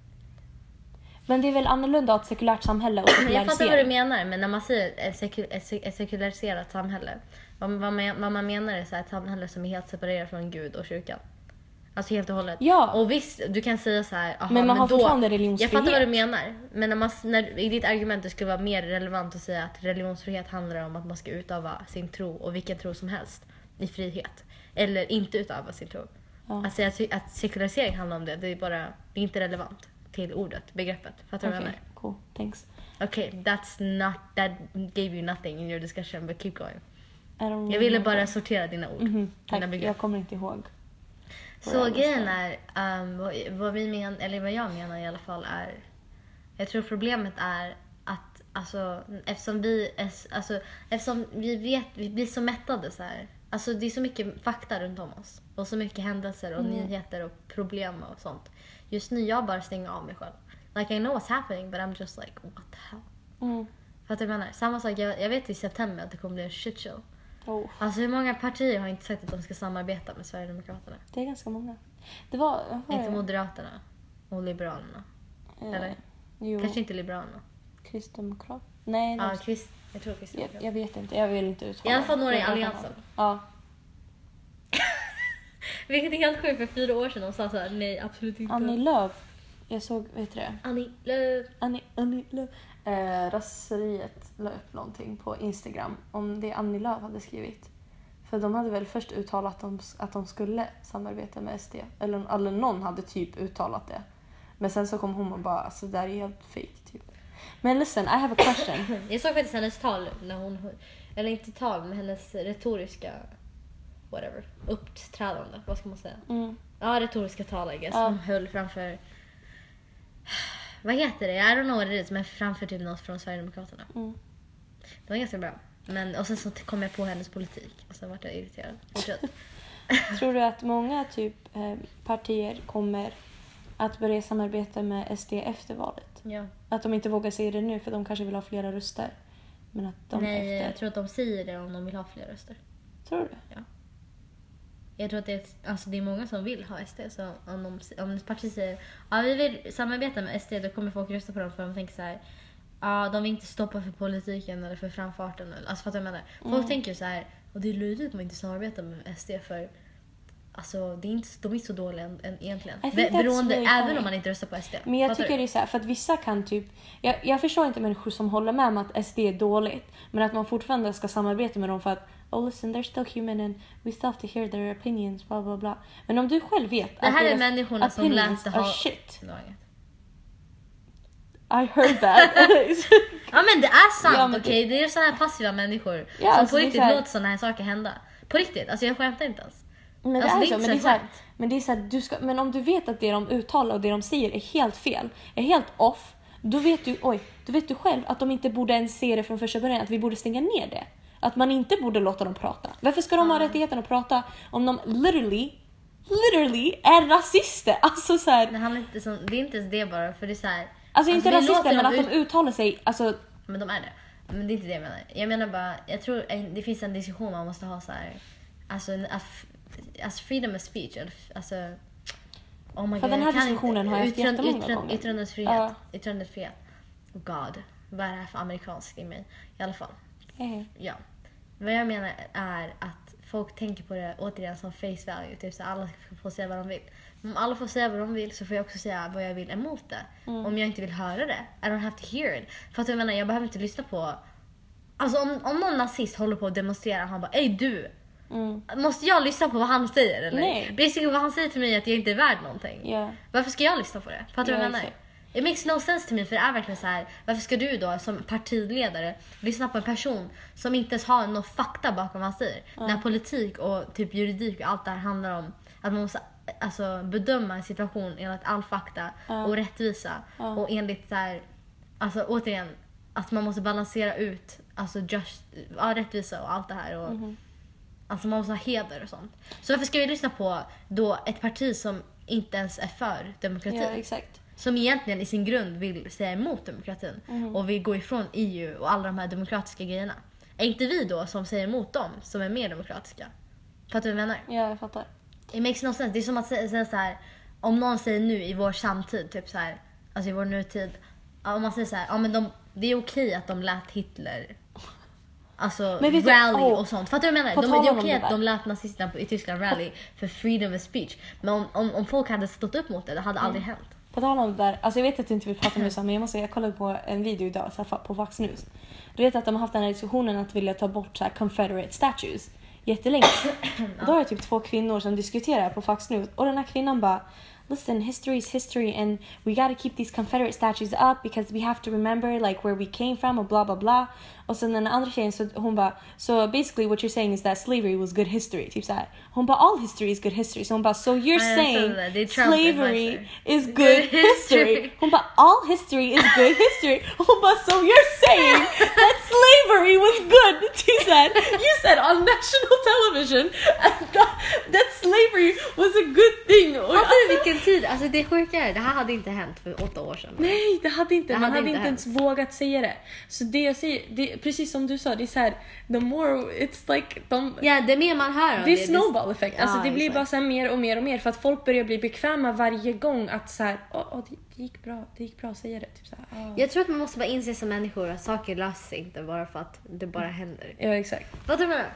Speaker 2: Men det är väl annorlunda att ha ett sekulärt samhälle och
Speaker 3: Men
Speaker 2: sekularisering?
Speaker 3: jag fattar vad du menar, men när man säger ett, seku, ett, sek- ett sekulariserat samhälle. Vad, vad, man, vad man menar är så här, ett samhälle som är helt separerat från Gud och kyrkan. Alltså helt och hållet.
Speaker 2: Ja.
Speaker 3: Och visst, du kan säga så här, aha,
Speaker 2: Men man har
Speaker 3: då,
Speaker 2: fortfarande
Speaker 3: Jag fattar
Speaker 2: religionsfrihet.
Speaker 3: vad du menar. Men när man, s- när, i ditt argument det skulle vara mer relevant att säga att religionsfrihet handlar om att man ska utöva sin tro och vilken tro som helst i frihet. Eller inte utöva sin tro.
Speaker 2: Ja.
Speaker 3: Att säga att, se- att sekularisering handlar om det, det är bara det är inte relevant till ordet, begreppet. Fattar du vad jag
Speaker 2: Okej,
Speaker 3: menar?
Speaker 2: cool. Thanks.
Speaker 3: Okay, that's not that gave you nothing in your discussion but keep going.
Speaker 2: I don't
Speaker 3: Jag ville
Speaker 2: remember.
Speaker 3: bara sortera dina ord.
Speaker 2: Mm. Mhm,
Speaker 3: dina
Speaker 2: tack,
Speaker 3: begrepp.
Speaker 2: jag kommer inte ihåg.
Speaker 3: Så grejen är, ehm, vad, vad vi men, eller vad jag menar i alla fall är, jag tror problemet är att alltså, eftersom vi är s- alltså, eftersom vi vet, vi blir så mättade så här. Alltså det är så mycket fakta runt om oss och så mycket händelser och nyheter och problem och sånt. Just nu jag bara stänger av mig själv. Like I know what's happening but I'm just like what the hell.
Speaker 2: Mm.
Speaker 3: Fattar du vad jag menar? Samma sak, jag, jag vet i september att det kommer bli en shit show.
Speaker 2: Oh,
Speaker 3: Alltså hur många partier har inte sagt att de ska samarbeta med Sverigedemokraterna?
Speaker 2: det är ganska många. Det var... vad var
Speaker 3: Inte
Speaker 2: det?
Speaker 3: Moderaterna och Liberalerna.
Speaker 2: Eh,
Speaker 3: eller?
Speaker 2: Jo,
Speaker 3: Kanske inte Liberalerna.
Speaker 2: kristdemokrat. Nej,
Speaker 3: Ja,
Speaker 2: de-
Speaker 3: Chris, jag tror Kristdemokraterna.
Speaker 2: jag, jag vet inte. Jag vill inte uttala
Speaker 3: I alla fall
Speaker 2: mig.
Speaker 3: några i
Speaker 2: Jag vet
Speaker 3: Alliansen.
Speaker 2: inte. Ja.
Speaker 3: Vilket är helt sjukt, för fyra år sedan de sa såhär nej absolut inte.
Speaker 2: Annie Lööf. Jag såg, vad heter det?
Speaker 3: Annie Lööf.
Speaker 2: Annie, Annie Lööf. Eh, raseriet la upp någonting på Instagram om det Annie Lööf hade skrivit. För de hade väl först uttalat att de, att de skulle samarbeta med SD. Eller, eller någon hade typ uttalat det. Men sen så kom hon och bara alltså det där är helt fake typ. Men listen, I have a question.
Speaker 3: Jag såg faktiskt hennes tal när hon, eller inte tal men hennes Alltså, retoriska whatever, uppträdande, vad ska man säga?
Speaker 2: Mm.
Speaker 3: Ja, retoriska tal I guess.
Speaker 2: Ja.
Speaker 3: Hon höll framför... Vad heter det? I don't know what it is, men framför typ något från Sverigedemokraterna.
Speaker 2: Mm.
Speaker 3: Det var ganska bra. Men, och sen så kom jag på hennes politik och sen vart jag irriterad. Fortsätt.
Speaker 2: Tror du att många typ eh, partier kommer att börja samarbeta med SD efter valet?
Speaker 3: ja.
Speaker 2: Att de inte vågar säga det nu för de kanske vill ha flera röster. Men att de
Speaker 3: Nej,
Speaker 2: efter...
Speaker 3: jag tror att de säger det om de vill ha fler röster.
Speaker 2: tror du?
Speaker 3: Jag tror att det är, ett- alltså det är många som vill ha SD. Så om, de, om ett parti säger ja vi vill samarbeta med SD då kommer folk rösta på dem för de tänker så här. Ja, de vill inte stoppa för politiken eller för framfarten. eller- Alltså fattar du vad jag menar? Folk
Speaker 2: Mm.
Speaker 3: tänker så här, och det är löjligt att man inte samarbetar med SD för alltså, det är inte, de är inte så dåliga än, än, egentligen.
Speaker 2: I think
Speaker 3: Be,
Speaker 2: that's
Speaker 3: beroende,
Speaker 2: really
Speaker 3: även
Speaker 2: funny.
Speaker 3: om man inte röstar på SD.
Speaker 2: Men jag
Speaker 3: Fattar
Speaker 2: tycker det
Speaker 3: du?
Speaker 2: är så här, för att vissa kan typ... Jag, jag förstår inte människor som håller med om att SD är dåligt, men att man fortfarande ska samarbeta med dem för att Oh listen, they're still human and we still have to hear their opinions, bla bla bla. Men om du själv vet
Speaker 3: Det här är
Speaker 2: deras
Speaker 3: människorna som
Speaker 2: opinions
Speaker 3: läste
Speaker 2: are
Speaker 3: ha-
Speaker 2: shit.
Speaker 3: Det var inget.
Speaker 6: I heard that.
Speaker 3: Ja men det är sant,
Speaker 6: Ja,
Speaker 3: okej?
Speaker 6: men-
Speaker 3: Det är såna här passiva människor
Speaker 6: Ja,
Speaker 3: som
Speaker 6: alltså,
Speaker 3: på
Speaker 6: det är
Speaker 3: riktigt
Speaker 6: så här-
Speaker 3: låter såna här saker hända. På riktigt, alltså jag skämtar inte ens.
Speaker 6: Men det
Speaker 3: Alltså, det är
Speaker 6: är så,
Speaker 3: inte
Speaker 6: men det är
Speaker 3: så
Speaker 6: så här,
Speaker 3: skönt.
Speaker 6: men det är så här, du ska, men om du vet att det de uttalar och det de säger är helt fel, är helt off, då vet du, oj, då vet du själv att de inte borde ens se det från första början, att vi borde stänga ner det. Att man inte borde låta dem prata. Varför ska de ha rättigheten att prata om de literally, literally är rasister? Alltså så här,
Speaker 3: Det, handlar inte som, det är inte ens det bara, för det är så här,
Speaker 6: alltså inte
Speaker 3: vi
Speaker 6: rasister
Speaker 3: låter
Speaker 6: men
Speaker 3: dem
Speaker 6: att de uttalar sig, alltså
Speaker 3: Men de är det. Men det är inte det jag menar. Jag menar bara, jag tror en, det finns en diskussion man måste ha så här. Alltså, en- att, f- alltså freedom of speech. eller f- Alltså, oh my
Speaker 6: För den
Speaker 3: jag
Speaker 6: här
Speaker 3: kan
Speaker 6: diskussionen
Speaker 3: inte-
Speaker 6: har jag haft
Speaker 3: yttrand-
Speaker 6: jättemånga
Speaker 3: yttrand-
Speaker 6: gånger.
Speaker 3: Yttrandefrihet.
Speaker 6: Ja.
Speaker 3: Yttrandefrihet. God, vad är det här för amerikanskt i mig? I alla fall.
Speaker 6: eh,
Speaker 3: Ja. Vad jag menar är att folk tänker på det återigen som face value. Typ så här, alla ska få säga vad de vill. Men Om alla får säga vad de vill så får jag också säga vad jag vill emot det.
Speaker 6: Mm.
Speaker 3: Om jag inte vill höra det. I don't have to hear it. För att jag menar, jag behöver inte lyssna på... Alltså om, om någon nazist håller på att demonstrera och han bara Ey du!
Speaker 6: mm,
Speaker 3: Måste jag lyssna på vad han säger eller?
Speaker 6: Nej.
Speaker 3: Basically vad han säger till mig är att jag inte är värd någonting.
Speaker 6: yeah.
Speaker 3: Varför ska jag lyssna på det? Fattar du vad
Speaker 6: Ja,
Speaker 3: jag menar?
Speaker 6: exakt.
Speaker 3: It makes no sense to me för det är verkligen så här. varför ska du då som partiledare lyssna på en person som inte ens har någon fakta bakom vad han säger? När politik och typ juridik och allt det här handlar om att man måste alltså, bedöma en situation enligt all fakta och rättvisa och enligt så här, alltså återigen att man måste balansera ut alltså just, ja, rättvisa och allt det
Speaker 6: Mhm.
Speaker 3: här och Alltså man måste ha heder och sånt. Så varför ska vi lyssna på då ett parti som inte ens är för demokrati?
Speaker 6: ja exakt.
Speaker 3: som egentligen i sin grund vill säga emot demokratin
Speaker 6: Mhm.
Speaker 3: och vill gå ifrån EU och alla de här demokratiska grejerna. Är inte vi då som säger emot dem som är mer demokratiska? Fattar du vad jag menar?
Speaker 6: Ja jag fattar.
Speaker 3: It makes no sense. Det är som att sä- säga så här. om någon säger nu i vår samtid, typ så här, alltså i vår nutid. ja, Om man säger så här, ja men de, det är okej att de lät Hitler Alltså
Speaker 6: Men vet du-
Speaker 3: rally
Speaker 6: åh.
Speaker 3: och sånt. Fattar du vad jag menar?
Speaker 6: På
Speaker 3: De,
Speaker 6: tal
Speaker 3: det är
Speaker 6: om
Speaker 3: okej
Speaker 6: det
Speaker 3: att
Speaker 6: där.
Speaker 3: de lät nazisterna på, i Tyskland rally för freedom of speech. Men om, om, om folk hade stått upp mot det, det hade aldrig hänt.
Speaker 6: På tal om det där, alltså jag vet att du inte vill prata om USA men jag måste säga, jag kollade på en video idag så här, på Fox News. Du vet att de har haft den här diskussionen att vilja ta bort så här, confederate statues jättelänge. Och då är det typ två kvinnor som diskuterar på Fox News och den här kvinnan bara Listen, history is history and we gotta keep these confederate statues up because we have to remember like where we came from och bla bla bla. Och sen den andra tjejen så hon bara so basically what you're saying is that slavery was good history. Typ såhär. Hon bara all history is good history. Så hon bara so you're
Speaker 3: Ja, jag såg det där. Det är
Speaker 6: saying
Speaker 3: Trump
Speaker 6: slavery
Speaker 3: advisor.
Speaker 6: is good,
Speaker 3: Good
Speaker 6: history.
Speaker 3: history.
Speaker 6: Hon bara, all history is good history. Hon bara, so you're saying that slavery was good? She said, you said on national television that, that slavery was a good thing. Och jag-
Speaker 3: Fattar du vilken tid? Alltså det sjuka är, det här hade inte hänt för åtta år sedan.
Speaker 2: Nej, det hade inte.
Speaker 3: Det
Speaker 2: man
Speaker 3: hade
Speaker 2: hade,
Speaker 3: inte
Speaker 2: inte,
Speaker 3: hänt.
Speaker 2: ens vågat säga det. Så det jag säger, det, precis som du sa, det är så här, the more it's like, de,
Speaker 3: Ja, det är mer man hör om
Speaker 2: det är snowball effect. Alltså
Speaker 3: Ja,
Speaker 2: det blir
Speaker 3: exakt.
Speaker 2: bara så här mer och mer och mer för att folk börjar bli bekväma varje gång att så här, åh, åh, det, det gick bra, det gick bra att säga det. Typ så här, åh.
Speaker 3: Jag tror att man måste bara inse som människor att saker löser sig inte bara för att det bara händer.
Speaker 2: Ja, exakt.
Speaker 3: Fattar du vad jag menar?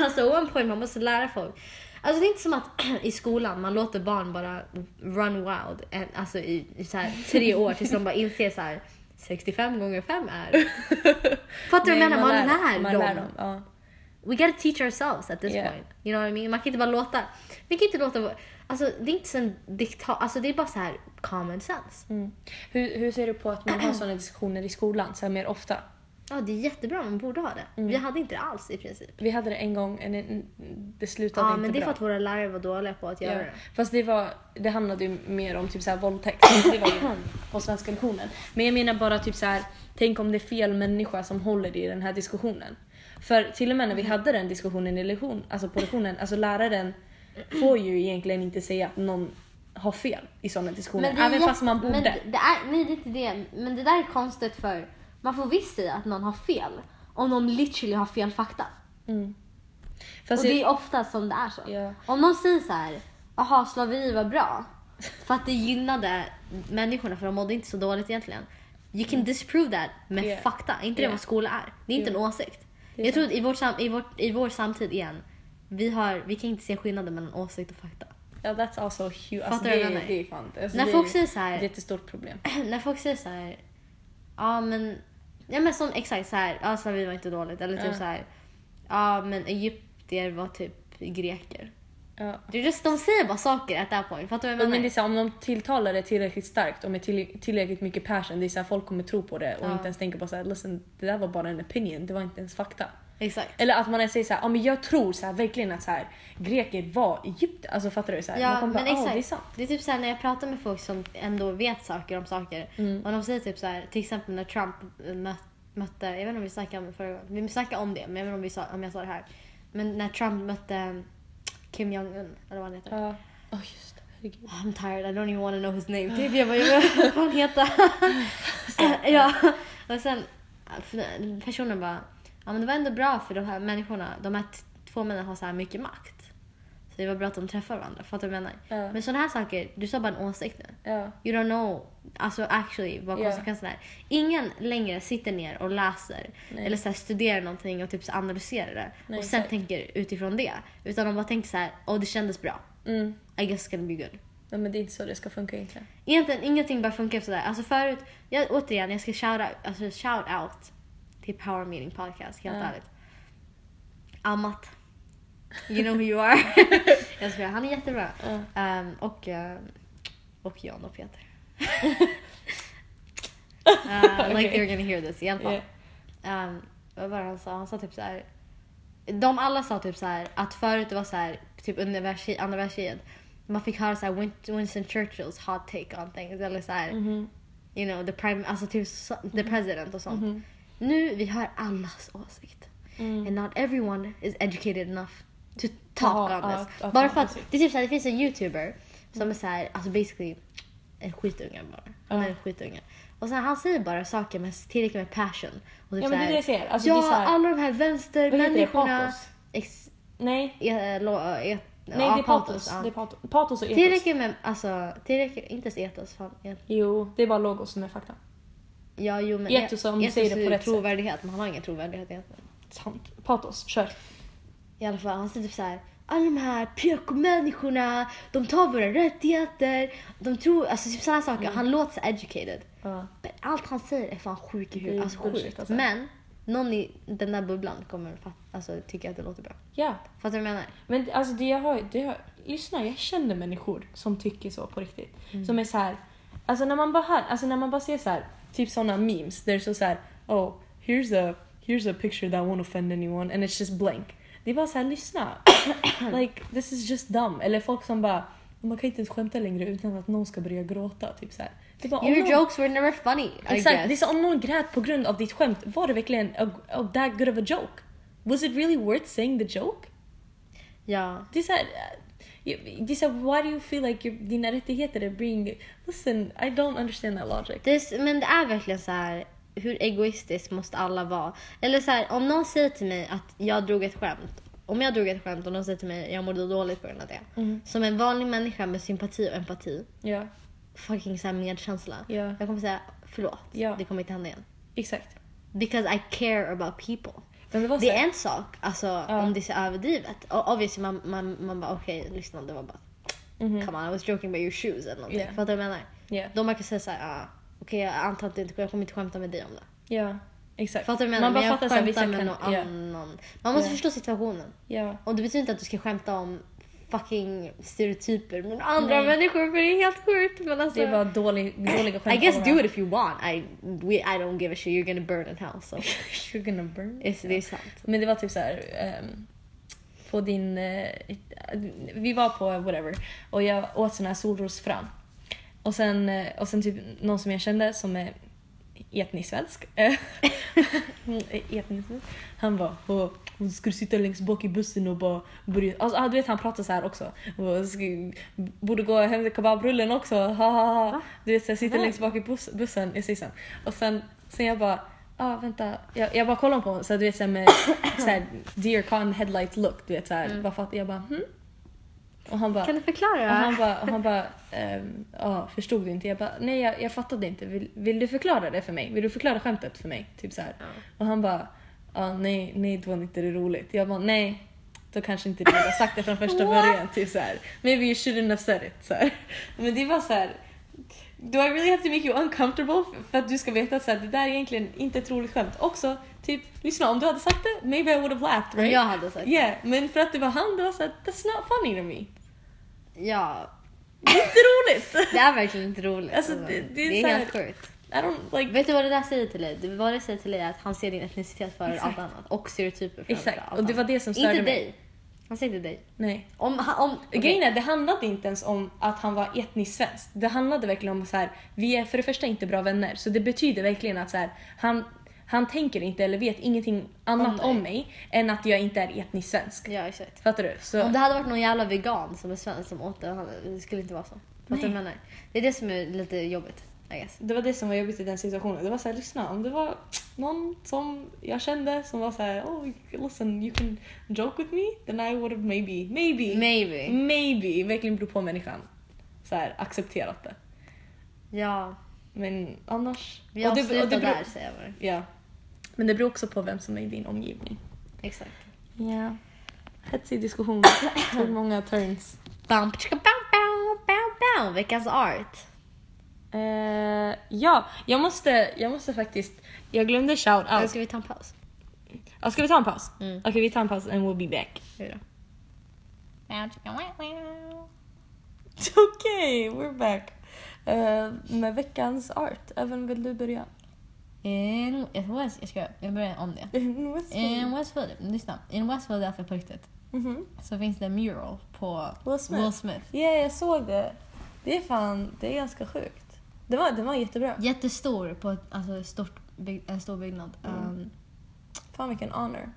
Speaker 3: Alltså one point, man måste lära folk. Alltså det är inte som att i skolan man låter barn bara run wild en- alltså i, i så här, tre år tills de bara inser så här 65 gånger 5 är. Fattar du vad jag menar? Man, lär,
Speaker 2: man
Speaker 3: dem.
Speaker 2: lär dem. Ja.
Speaker 3: We gotta teach ourselves at this
Speaker 2: Yeah.
Speaker 3: point. You know what I mean? Man kan inte bara låta... Vi kan inte låta... vår- Alltså det är inte sån diktat... Alltså det är bara så här common sense.
Speaker 2: Mm. Hur, hur ser du på att man har sådana diskussioner i skolan så här, mer ofta?
Speaker 3: Ja, det är jättebra. Man borde ha det. Vi hade inte det alls i princip.
Speaker 2: Vi hade Mm. det en gång, en- en- det slutade
Speaker 3: Ja,
Speaker 2: inte
Speaker 3: men det är
Speaker 2: bra.
Speaker 3: för att våra lärare var dåliga på att göra
Speaker 2: Ja.
Speaker 3: det.
Speaker 2: Fast det, var, det handlade ju mer om typ så här våldtäkt. Det var ju på svenska lektionen. Men jag menar bara typ så här, tänk om det är fel människa som håller i den här diskussionen. För till och med när vi hade den diskussionen i lektion, alltså på lektionen, alltså läraren får ju egentligen inte säga att någon har fel i sådana diskussioner.
Speaker 3: det är
Speaker 2: Även
Speaker 3: jätte-
Speaker 2: fast man borde.
Speaker 3: Men det, det är, nej, det är inte det. Men det där är konstigt för man får visst säga att någon har fel om de literally har fel fakta.
Speaker 2: Fast
Speaker 3: och det
Speaker 2: jag-
Speaker 3: är ofta som det är så.
Speaker 2: Alltså, Ja.
Speaker 3: Om någon säger så här, jaha slaveri var bra för att det gynnade människorna för de mådde inte så dåligt egentligen. You can disprove that med
Speaker 2: Yeah.
Speaker 3: fakta, Är inte det
Speaker 2: Yeah.
Speaker 3: vad skola är. Det är inte en åsikt.
Speaker 2: är
Speaker 3: Jag tror att i, vårt sam- i, vårt, i vår samtid igen, vi, har, vi kan inte se skillnaden mellan åsikt och fakta.
Speaker 2: ja, that's also huge. Alltså,
Speaker 3: Fattar du
Speaker 2: det,
Speaker 3: vad jag
Speaker 2: är-
Speaker 3: menar?
Speaker 2: det är fan alltså,
Speaker 3: När
Speaker 2: det,
Speaker 3: folk
Speaker 2: är-
Speaker 3: säger så här-
Speaker 2: Det är ett stort problem.
Speaker 3: när folk säger så här, ja men, ja men som exakt så här, ja slaveri var inte dåligt eller typ
Speaker 2: Ja.
Speaker 3: så här, ja men egyptier var typ greker.
Speaker 2: Ja.
Speaker 3: Det är just, de säger bara saker at that point. Fattar du vad
Speaker 2: Men
Speaker 3: jag
Speaker 2: det
Speaker 3: menar?
Speaker 2: är så här, om de tilltalar det tillräckligt starkt och med till, tillräckligt mycket passion, det är så här, folk kommer tro på det och
Speaker 3: Ja.
Speaker 2: inte ens tänker på så här, listen, det där var bara en opinion, det var inte ens fakta.
Speaker 3: Exakt.
Speaker 2: Eller att man ens säger så här, ja men jag tror så här, verkligen att så här, greker var i Egypten. Alltså fattar du? Så här, man
Speaker 3: Ja,
Speaker 2: kommer
Speaker 3: men
Speaker 2: bara,
Speaker 3: exakt.
Speaker 2: "Ah, det är sant.
Speaker 3: Det är typ såhär när jag pratar med folk som ändå vet saker om saker.
Speaker 2: Mm.
Speaker 3: Och de säger typ såhär, till exempel när Trump mö- mötte, jag vet inte om vi snackade om det förra gången, vi snackade om det men jag vet inte om, vi sa, om jag sa det här. Men när Trump mötte Kim Jong-Un, eller vad han heter.
Speaker 2: Ja, oh, just det. Herregud.
Speaker 3: I'm tired, I don't even want to know his name. Typ jag bara, jag vet vad han heter. ja. Och sen för- personen bara, ja men det var ändå bra för de här människorna, de här t- två männen har så här mycket makt. Så det var bra att de träffar varandra, fattar du vad jag menar?
Speaker 2: Ja.
Speaker 3: Men sådana här saker, du sa bara en åsikt nu.
Speaker 2: Ja.
Speaker 3: You don't know alltså actually vad
Speaker 2: Ja.
Speaker 3: konsekvenserna är. Ingen längre sitter ner och läser
Speaker 2: Nej.
Speaker 3: eller så här studerar någonting och typ så analyserar det
Speaker 2: Nej,
Speaker 3: och sen
Speaker 2: exakt.
Speaker 3: tänker utifrån det. Utan de bara tänker så här, åh det kändes bra.
Speaker 2: Mm.
Speaker 3: I guess it's gonna be good.
Speaker 2: Nej, men det är inte så det ska funka egentligen.
Speaker 3: Egentligen ingenting bara funkar sådär. Alltså förut, jag, återigen jag ska shout out, alltså shout out till Power Meeting Podcast helt
Speaker 2: Ja.
Speaker 3: ärligt. Amat. You know who you are. jag skojar, han är jättebra. Ehm, och, ehm, och Jan och Peter. Eh, Like they're gonna hear this i alla fall.
Speaker 2: Yeah.
Speaker 3: Ehm, vad var det han sa? Han sa typ så här. De alla sa typ så här att förut det var så här typ under världskri- andra världskriget. Man fick höra så här Win- Winston Churchills hot take on things eller så här you know the prime alltså typ så, the president och sånt. Nu vi hör allas åsikt. And not everyone is educated enough to talk
Speaker 6: Jaha,
Speaker 3: on this.
Speaker 6: att- att
Speaker 3: bara
Speaker 6: ha
Speaker 3: för att
Speaker 6: åsikt.
Speaker 3: det är typ så här, det finns en youtuber som är så här alltså basically en skitunge bara. Han är en skitunge. Och så här, han säger bara saker med tillräckligt med passion. Och typ
Speaker 2: Ja, men
Speaker 3: så
Speaker 2: det är
Speaker 3: här,
Speaker 2: det jag säger. Alltså,
Speaker 3: ja,
Speaker 2: det är så här-
Speaker 3: alla de här
Speaker 2: Vad heter det?
Speaker 3: vänstermänniskorna.
Speaker 2: Patos?
Speaker 3: Ex,
Speaker 2: Nej,
Speaker 3: e, lo, e,
Speaker 2: nej det är patos.
Speaker 3: ja.
Speaker 2: Det är patos. patos och etos.
Speaker 3: Tillräckligt med, alltså, tillräckligt, inte ens etos. Fan, et,
Speaker 2: Jo, det är bara logos som är fakta.
Speaker 3: ja, jo, men
Speaker 2: Etos, om du säger det på
Speaker 3: är ju
Speaker 2: rätt sätt.
Speaker 3: trovärdighet, men han har ingen trovärdighet egentligen.
Speaker 2: Sant. Patos, kör.
Speaker 3: I alla fall, han säger typ så här. Alla de här PK-människorna, de tar våra rättigheter, de tror, alltså typ sådana
Speaker 2: Mm.
Speaker 3: saker. Han låter så educated.
Speaker 2: Ja.
Speaker 3: Men allt han säger är fan sjuk
Speaker 2: Det
Speaker 3: i
Speaker 2: är
Speaker 3: huvudet. Alltså
Speaker 2: bullshit,
Speaker 3: sjukt.
Speaker 2: alltså.
Speaker 3: Men någon i den där bubblan kommer fatt, alltså, tycka att det låter bra.
Speaker 2: Ja.
Speaker 3: Fattar du vad jag menar?
Speaker 2: Men det- alltså det jag har, det jag, lyssna jag känner människor som tycker så på riktigt. Som är så här, alltså när man bara hör, alltså när man bara ser så här, typ sådana memes där det står så här, oh here's a, here's a picture that won't offend anyone and it's just blank. Det är bara så här, lyssna. like this is just dumb. Eller folk som bara, man kan inte ens skämta längre utan att någon ska börja gråta. Typ så här. Det är bara, om
Speaker 3: Your
Speaker 2: någon-
Speaker 3: jokes were never funny, I
Speaker 2: Exakt,
Speaker 3: guess.
Speaker 2: det är så om någon grät på grund av ditt skämt, var det verkligen a, a, that good of a joke? Was it really worth saying the joke?
Speaker 3: Ja.
Speaker 2: Det är såhär... Det är såhär, why do you feel like your, dina rättigheter är being... Listen, I don't understand that logic.
Speaker 3: Det är, s- men det är verkligen så här. hur egoistisk måste alla vara? Eller så här, om någon säger till mig att jag drog ett skämt. Om jag drog ett skämt och någon säger till mig att jag mådde dåligt på grund av det.
Speaker 2: Mm.
Speaker 3: Som en vanlig människa med sympati och empati,
Speaker 2: Ja,
Speaker 3: fucking så här medkänsla.
Speaker 2: Ja.
Speaker 3: Jag kommer säga förlåt,
Speaker 2: Ja.
Speaker 3: det kommer inte hända igen.
Speaker 2: exakt.
Speaker 3: Because I care about people.
Speaker 2: Men det var
Speaker 3: Det
Speaker 2: såhär...
Speaker 3: är en sak alltså, om det är så överdrivet. Och obviously man, man, man bara okej lyssna det var bara
Speaker 2: Mhm.
Speaker 3: come on I was joking about your shoes eller någonting.
Speaker 2: Yeah.
Speaker 3: Fattar du vad jag menar?
Speaker 2: Yeah.
Speaker 3: De verkar säga såhär ah, okej jag antar att det inte jag kommer inte skämta med dig om det.
Speaker 2: Ja, exakt.
Speaker 3: Fattar du vad jag menar?
Speaker 2: Man bara
Speaker 3: Men jag
Speaker 2: fattar såhär, vissa
Speaker 3: skämtar
Speaker 2: kan...
Speaker 3: med någon
Speaker 2: ja,
Speaker 3: annan. Man måste
Speaker 2: Ja.
Speaker 3: förstå situationen.
Speaker 2: ja.
Speaker 3: Och det betyder inte att du ska skämta om fucking stereotyper med andra
Speaker 2: Nej.
Speaker 3: människor för det är helt sjukt. Men alltså,
Speaker 2: Det är bara dålig, dåliga skämt.
Speaker 3: I guess
Speaker 2: om
Speaker 3: do
Speaker 2: varandra.
Speaker 3: it if you want. I, we, I don't give a shit, you're gonna burn in hell. So.
Speaker 2: You're gonna burn.
Speaker 3: It's, Det är sant.
Speaker 2: Men det var typ så här. ehm, på din... eh, vi var på whatever och jag åt sån här solrosfrön. Och sen, eh, och sen typ någon som jag kände som är etnisk svensk. eh, etnisk. svensk. Han bara "Åh, Ska du sitta längst bak i bussen och bara börja... Alltså, ah, du vet han pratar så här också. Och "Ska- Borde gå hem till kebabrullen också. Ha, ha, ha. Du vet så här, sitter längst bak i bus- bussen i sisen. Och sen, sen jag bara ah, vänta. Jag, jag bara kollar på honom så här, du vet så här, med så här, deer con headlight look. Du vet så här, bara fatt, jag bara hm? Och han bara
Speaker 3: Mm. Kan du
Speaker 2: och han
Speaker 3: förklara?
Speaker 2: bara, och han bara ehm, ja, förstod du inte? Jag bara, nej jag, jag fattade inte. Vill, vill du förklara det för mig? Vill du förklara skämtet för mig? Typ så här. Och han bara, ja, nej, nej det var inte det roligt. Jag bara, nej. Då kanske inte du hade sagt det från första början. Typ så här. Maybe you shouldn't have said it. Så här. Men det var så här. Do I really have to make you uncomfortable f- för att du ska veta att så här, det där är egentligen inte ett roligt skämt? Också, typ, lyssna om du hade sagt det, maybe I would have laughed right?
Speaker 3: Jag hade sagt
Speaker 2: Yeah, men för att det var han, det var såhär, that's not funny to me.
Speaker 3: Ja,
Speaker 2: Det är inte roligt!
Speaker 3: det är verkligen inte roligt.
Speaker 2: Alltså,
Speaker 3: alltså.
Speaker 2: det- det är
Speaker 3: det
Speaker 2: så
Speaker 3: är
Speaker 2: här-
Speaker 3: helt sjukt.
Speaker 2: I don't like...
Speaker 3: Vet du vad det där säger till dig? Det- Vad det säger till dig är att han ser din etnicitet före allt annat. Och stereotyper före
Speaker 2: Exakt,
Speaker 3: allt
Speaker 2: och det var
Speaker 3: annat.
Speaker 2: det som störde
Speaker 3: Inte
Speaker 2: mig.
Speaker 3: dig. Han säger inte dig.
Speaker 2: Nej.
Speaker 3: Om, han- om, okej.
Speaker 2: Grejen är, det handlade inte ens om att han var etniskt svensk. Det handlade verkligen om så här, vi är för det första inte bra vänner. Så det betyder verkligen att så här, han, han tänker inte eller vet ingenting annat
Speaker 3: Om
Speaker 2: om,
Speaker 3: dig.
Speaker 2: mig än att jag inte är etniskt svensk.
Speaker 3: Ja, exakt.
Speaker 2: Fattar du? Så,
Speaker 3: Om det hade varit någon jävla vegan som är svensk som åt det, han- det skulle inte vara så. Fattar du vad jag menar? Det är det som är lite jobbigt. I guess.
Speaker 2: Det var det som var jobbigt i den situationen. Det var så här, lyssna, om det var någon som jag kände som var så här, oh listen you can joke with me, then I would have maybe, maybe,
Speaker 3: Maybe.
Speaker 2: Mm. maybe, verkligen beror på människan. Så här, accepterat det.
Speaker 3: Ja,
Speaker 2: Men annars...
Speaker 3: vi avslutar
Speaker 2: och det beror-
Speaker 3: där säger jag bara.
Speaker 2: Ja. Men det beror också på vem som är i din omgivning.
Speaker 3: Exakt.
Speaker 2: Ja. Hetsig diskussion. Tog många turns.
Speaker 3: Bam, tjaka, bam, bam, bam, bam. Veckans art.
Speaker 2: Eh, ja, jag måste, jag måste faktiskt... Jag glömde shout
Speaker 3: Nu
Speaker 2: out.
Speaker 3: ska vi ta en paus.
Speaker 2: Ja, ska vi ta en paus?
Speaker 3: Mm.
Speaker 2: Okej, vi tar en paus and we'll be back.
Speaker 3: Hej då.
Speaker 2: Okej, we're back. Eh, med veckans art. Även vill du börja?
Speaker 3: In, jag, ska- jag, ska, jag börjar om det.
Speaker 2: Eh,
Speaker 3: In West Philadelphia, lyssna. In West Philadelphia på riktigt
Speaker 2: Mhm.
Speaker 3: så finns det en mural på
Speaker 2: Will Smith.
Speaker 3: Will Smith.
Speaker 2: Ja, jag såg det. Det är fan, det är ganska sjukt. Det var, det var jättebra.
Speaker 3: Jättestor på ett, alltså, stort, bygg- en stor byggnad. Um,
Speaker 2: Fan vilken honor.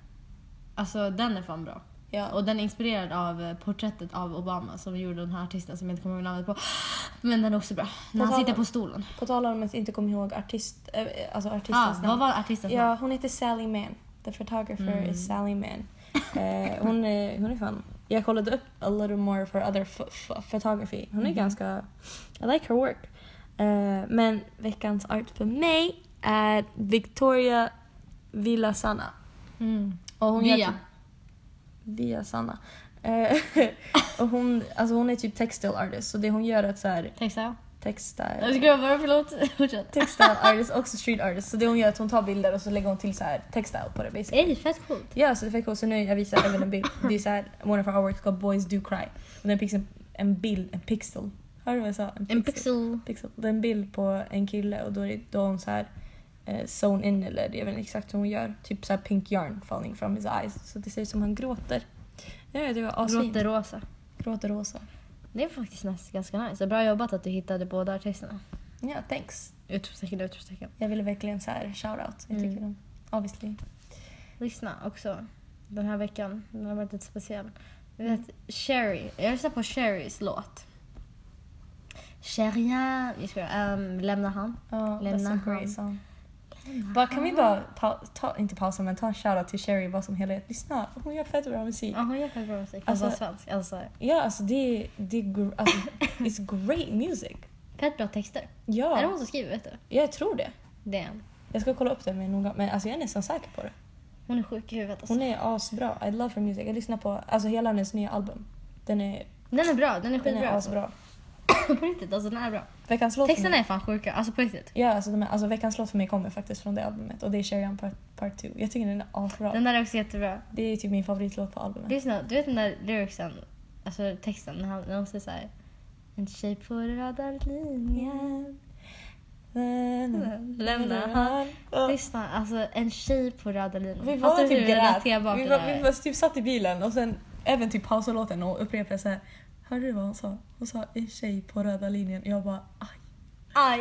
Speaker 3: alltså den är fan bra.
Speaker 2: Ja.
Speaker 3: Och den är inspirerad av eh, porträttet av Obama som gjorde den här artisten som jag inte kommer ihåg namnet på. Men den är också bra. När han
Speaker 2: tal-
Speaker 3: sitter på stolen.
Speaker 2: På tal om att jag inte kommer ihåg artist, eh, alltså
Speaker 3: Ah,
Speaker 2: artistens
Speaker 3: vad
Speaker 2: namn.
Speaker 3: var artistens
Speaker 2: Ja,
Speaker 3: namn? Mm.
Speaker 2: hon heter Sally Mann. The photographer is Sally Mann. Eh, hon, är, hon är fan... Jag kollade upp a little more for other ph- ph- photography. Hon är
Speaker 3: Mm.
Speaker 2: ganska... I like her work. Eh, men veckans art för mig är Victoria Villasana.
Speaker 3: Mm.
Speaker 2: Och hon
Speaker 3: Via.
Speaker 2: gör typ- Via Sanna. Eh, och hon, alltså hon är typ textile artist så det hon gör är att så här,
Speaker 3: Textile.
Speaker 2: textile...
Speaker 3: Jag ska bara, förlåt. Fortsätt.
Speaker 2: textile artist, också street artist. Så det hon gör är att hon tar bilder och så lägger hon till så här textile på det basically.
Speaker 3: Ey, fett coolt.
Speaker 2: Ja, så det fick hon. Så nu jag visar även en bild. Det är så här, one of our works called Boys Do Cry. Och den finns en, en bild, en pixel. Hörde du vad jag sa?
Speaker 3: En pixel.
Speaker 2: pixel. Det är en bild på en kille och då är det då har hon så här eh, zone in eller jag vet inte exakt hur hon gör. Typ så här pink yarn falling from his eyes. Så det ser ut som han gråter. Ja, det var asfint.
Speaker 3: Gråter
Speaker 2: Gråter.
Speaker 3: rosa.
Speaker 2: rosa.
Speaker 3: Det är faktiskt nästan ganska nice. Bra jobbat att du hittade båda artisterna.
Speaker 2: Ja, thanks.
Speaker 3: Utropstecken, utropstecken.
Speaker 2: Jag ville verkligen så här shout out. Jag
Speaker 3: Mm.
Speaker 2: tycker om. Obviously.
Speaker 3: Lyssna också. Den här veckan, den har varit lite speciell. Du vet, Sherry. Jag lyssnade på Sherrys låt. Sherrya, vi ska um, lämna han.
Speaker 2: Ja,
Speaker 3: Lämna
Speaker 2: that's a
Speaker 3: han.
Speaker 2: great song. Bara, kan vi bara, pa- ta, inte pausa men ta en shoutout till Sherry bara som helhet. Lyssna, hon gör fett bra musik.
Speaker 3: Ja, hon gör fett bra musik. Alltså,
Speaker 2: Alltså-
Speaker 3: svensk. Alltså,
Speaker 2: Ja, alltså det, det är gr- alltså, it's great music.
Speaker 3: fett bra texter. Är det
Speaker 2: Ja,
Speaker 3: hon som skriver? Vet du?
Speaker 2: jag tror det.
Speaker 3: Det är hon.
Speaker 2: Jag ska kolla upp det med noga, men alltså jag är nästan säker på det.
Speaker 3: Hon är sjuk i huvudet alltså.
Speaker 2: Hon är asbra. I love her music. Jag lyssnar på alltså hela hennes nya album. Den är,
Speaker 3: Den är bra, den är
Speaker 2: den
Speaker 3: skitbra.
Speaker 2: är
Speaker 3: alltså.
Speaker 2: asbra.
Speaker 3: på riktigt, alltså den är bra.
Speaker 2: Veckans låt för
Speaker 3: Texterna
Speaker 2: mig,
Speaker 3: är fan sjuka, alltså på riktigt.
Speaker 2: ja, alltså, de är, alltså, veckans låt för mig kommer faktiskt från det albumet och det är Sherry on Part 2. jag tycker den är asbra.
Speaker 3: Den där är också jättebra.
Speaker 2: Det är typ min favoritlåt på albumet.
Speaker 3: Lyssna, du vet den där lyricsen, alltså texten, när, han, när hon säger såhär En tjej på röda linjen lämnar han Lyssna, alltså en tjej på röda linjen.
Speaker 2: Vi båda
Speaker 3: Fattar du hur
Speaker 2: typ
Speaker 3: vi
Speaker 2: grät. Vi,
Speaker 3: relaterar
Speaker 2: var,
Speaker 3: till
Speaker 2: vi,
Speaker 3: det här?
Speaker 2: var typ satt i bilen och sen även typ pausade låten och upprepade så här. Hörde du vad hon sa? Hon sa en tjej på röda linjen. Jag bara aj.
Speaker 3: Aj,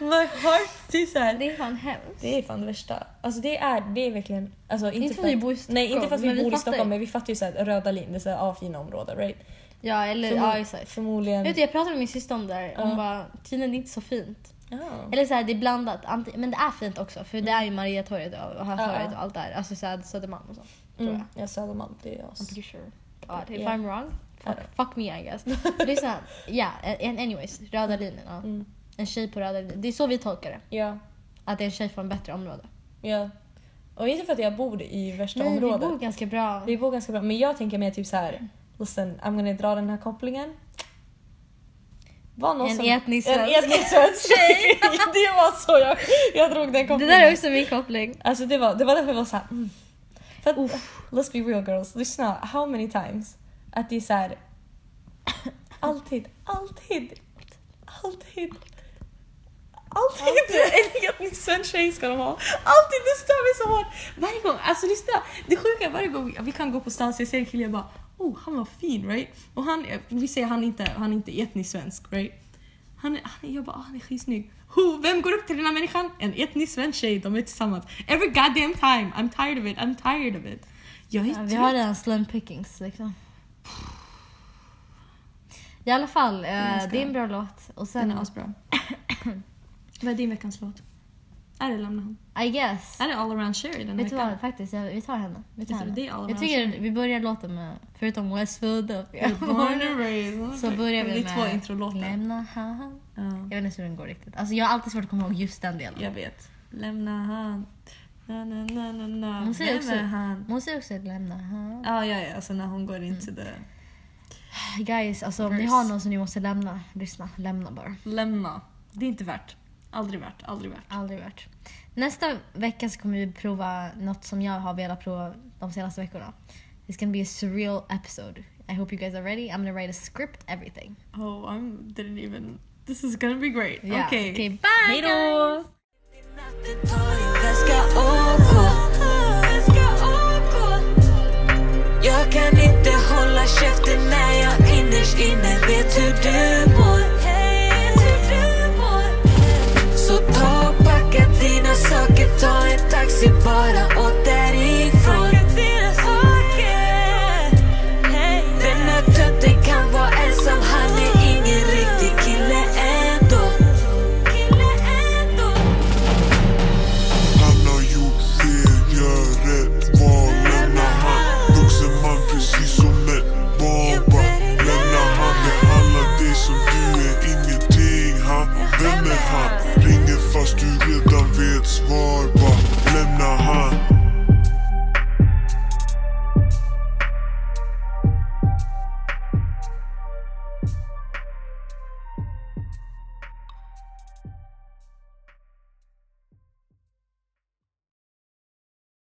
Speaker 2: My heart typ så här.
Speaker 3: det är fan hemskt.
Speaker 2: Det är fan det värsta. Alltså det är, det är verkligen... Alltså inte,
Speaker 3: Inte för
Speaker 2: för-
Speaker 3: vi bor i Stockholm,
Speaker 2: Nej inte fast
Speaker 3: men
Speaker 2: vi
Speaker 3: vi
Speaker 2: bor i
Speaker 3: fattar ju.
Speaker 2: Stockholm men vi fattar ju så här röda linjen, det är så här ah, fina områden right?
Speaker 3: Ja, eller
Speaker 2: Förmo-
Speaker 3: ja, exakt.
Speaker 2: Förmodligen...
Speaker 3: Vet du, jag pratade med min syster om det där. Hon
Speaker 2: Ja.
Speaker 3: bara, tydligen det är inte så fint.
Speaker 2: Ja.
Speaker 3: Eller såhär, det är blandat. Anti- men det är fint också, för det är ju Mariatorget och Hötorget
Speaker 2: Ja.
Speaker 3: och allt där. Alltså såhär Södermalm och så. Tror
Speaker 2: Mm.
Speaker 3: jag.
Speaker 2: Ja Södermalm, det är oss.
Speaker 3: I'm pretty sure. God, if
Speaker 2: Yeah.
Speaker 3: I'm wrong, fuck,
Speaker 2: don't-
Speaker 3: fuck me I guess. Lyssna, ja, yeah, anyways. Röda linjen. Ja.
Speaker 2: Mm.
Speaker 3: En tjej på röda linjen. Det är så vi tolkar det.
Speaker 2: Ja.
Speaker 3: Att det är en tjej från bättre område.
Speaker 2: Ja. Och inte för att jag bor i värsta
Speaker 3: Nej,
Speaker 2: området.
Speaker 3: vi bor ganska bra.
Speaker 2: Vi bor ganska bra, men jag tänker mer typ så här. Listen, I'm gonna dra den här kopplingen. var någon
Speaker 3: En
Speaker 2: som...
Speaker 3: etnisk
Speaker 2: en
Speaker 3: svensk.
Speaker 2: etnisk svensk tjej. det var så jag, jag drog den
Speaker 3: Det
Speaker 2: kopplingen.
Speaker 3: där är också min koppling.
Speaker 2: Alltså det var, det var därför jag var såhär... Mm. För att, let's be real girls, lyssna. How many times? Att det är såhär... Alltid, alltid, alltid. Alltid en etnisk svensk tjej ska de ha. Alltid, det stör mig så hårt. Varje gång, alltså lyssna. Det sjuka är varje gång vi- vi kan gå på stan så jag ser en kille jag bara oh han var fin right? Och han, är- vi säger han är inte, han är inte etnisk svensk right? Han, är- han, är- jag bara, ah, han är skitsnygg. Who, vem går upp till den här människan? En etnisk svensk tjej, de är tillsammans. Every goddamn time, I'm tired of it, I'm tired of it. Jag är
Speaker 3: Ja,
Speaker 2: trött.
Speaker 3: vi har redan slim pickings liksom. I alla fall, eh,
Speaker 2: Mm, Jag
Speaker 3: det är en bra låt. Och
Speaker 2: Den är
Speaker 3: sen,
Speaker 2: asbra. Vad är din veckans låt? Är det Lämna hon?
Speaker 3: I guess.
Speaker 2: Är det All Around Sherry den
Speaker 3: Vet du
Speaker 2: veckan?
Speaker 3: vad, faktiskt, jag, vi tar henne. Vi tar
Speaker 2: Alltså,
Speaker 3: henne.
Speaker 2: det är All
Speaker 3: Jag
Speaker 2: Around
Speaker 3: tycker
Speaker 2: Sherry.
Speaker 3: vi börjar låten med, förutom Westwood och
Speaker 2: Born and raised.
Speaker 3: så börjar vi
Speaker 2: Det är två
Speaker 3: med
Speaker 2: introlåtar.
Speaker 3: Lämna han.
Speaker 2: Ja,
Speaker 3: Jag vet inte ens hur den går riktigt. Alltså jag har alltid svårt att komma ihåg just den delen.
Speaker 2: jag vet. Lämna han. Na, na, na, na, na.
Speaker 3: Hon säger
Speaker 2: Vem
Speaker 3: också-
Speaker 2: är han?
Speaker 3: Men Hon säger också lämna han.
Speaker 2: Ja, ja, ja. Alltså när hon går in till det.
Speaker 3: Guys, alltså om ni
Speaker 2: Verse.
Speaker 3: har någon som ni måste lämna, lyssna. Lämna bara.
Speaker 2: Lämna. Det är inte värt. Aldrig värt. Aldrig värt.
Speaker 3: Aldrig värt. Nästa vecka så kommer vi prova något som jag har velat prova de senaste veckorna. It's gonna be a surreal episode. I hope you guys are ready. I'm gonna write a script, everything.
Speaker 2: Oh, I didn't even... This is gonna be great.
Speaker 3: Yeah.
Speaker 2: Okej.
Speaker 3: okay bye
Speaker 2: Hejdå.
Speaker 3: guys!
Speaker 1: Ta din väska och gå. Jag kan inte hålla käften när jag innerst inne vet hur du mår. Så ta och packa dina saker, ta en taxi bara åt därifrån. Den här tönten kan vara ensam, han är ingen riktig kille ändå.
Speaker 7: Han har gjort fel, gör rätt val Lämna han, vuxen man precis som ett barn bara Lämna han, behandla dig som du är ingenting han Vem är han? Ringer fast du redan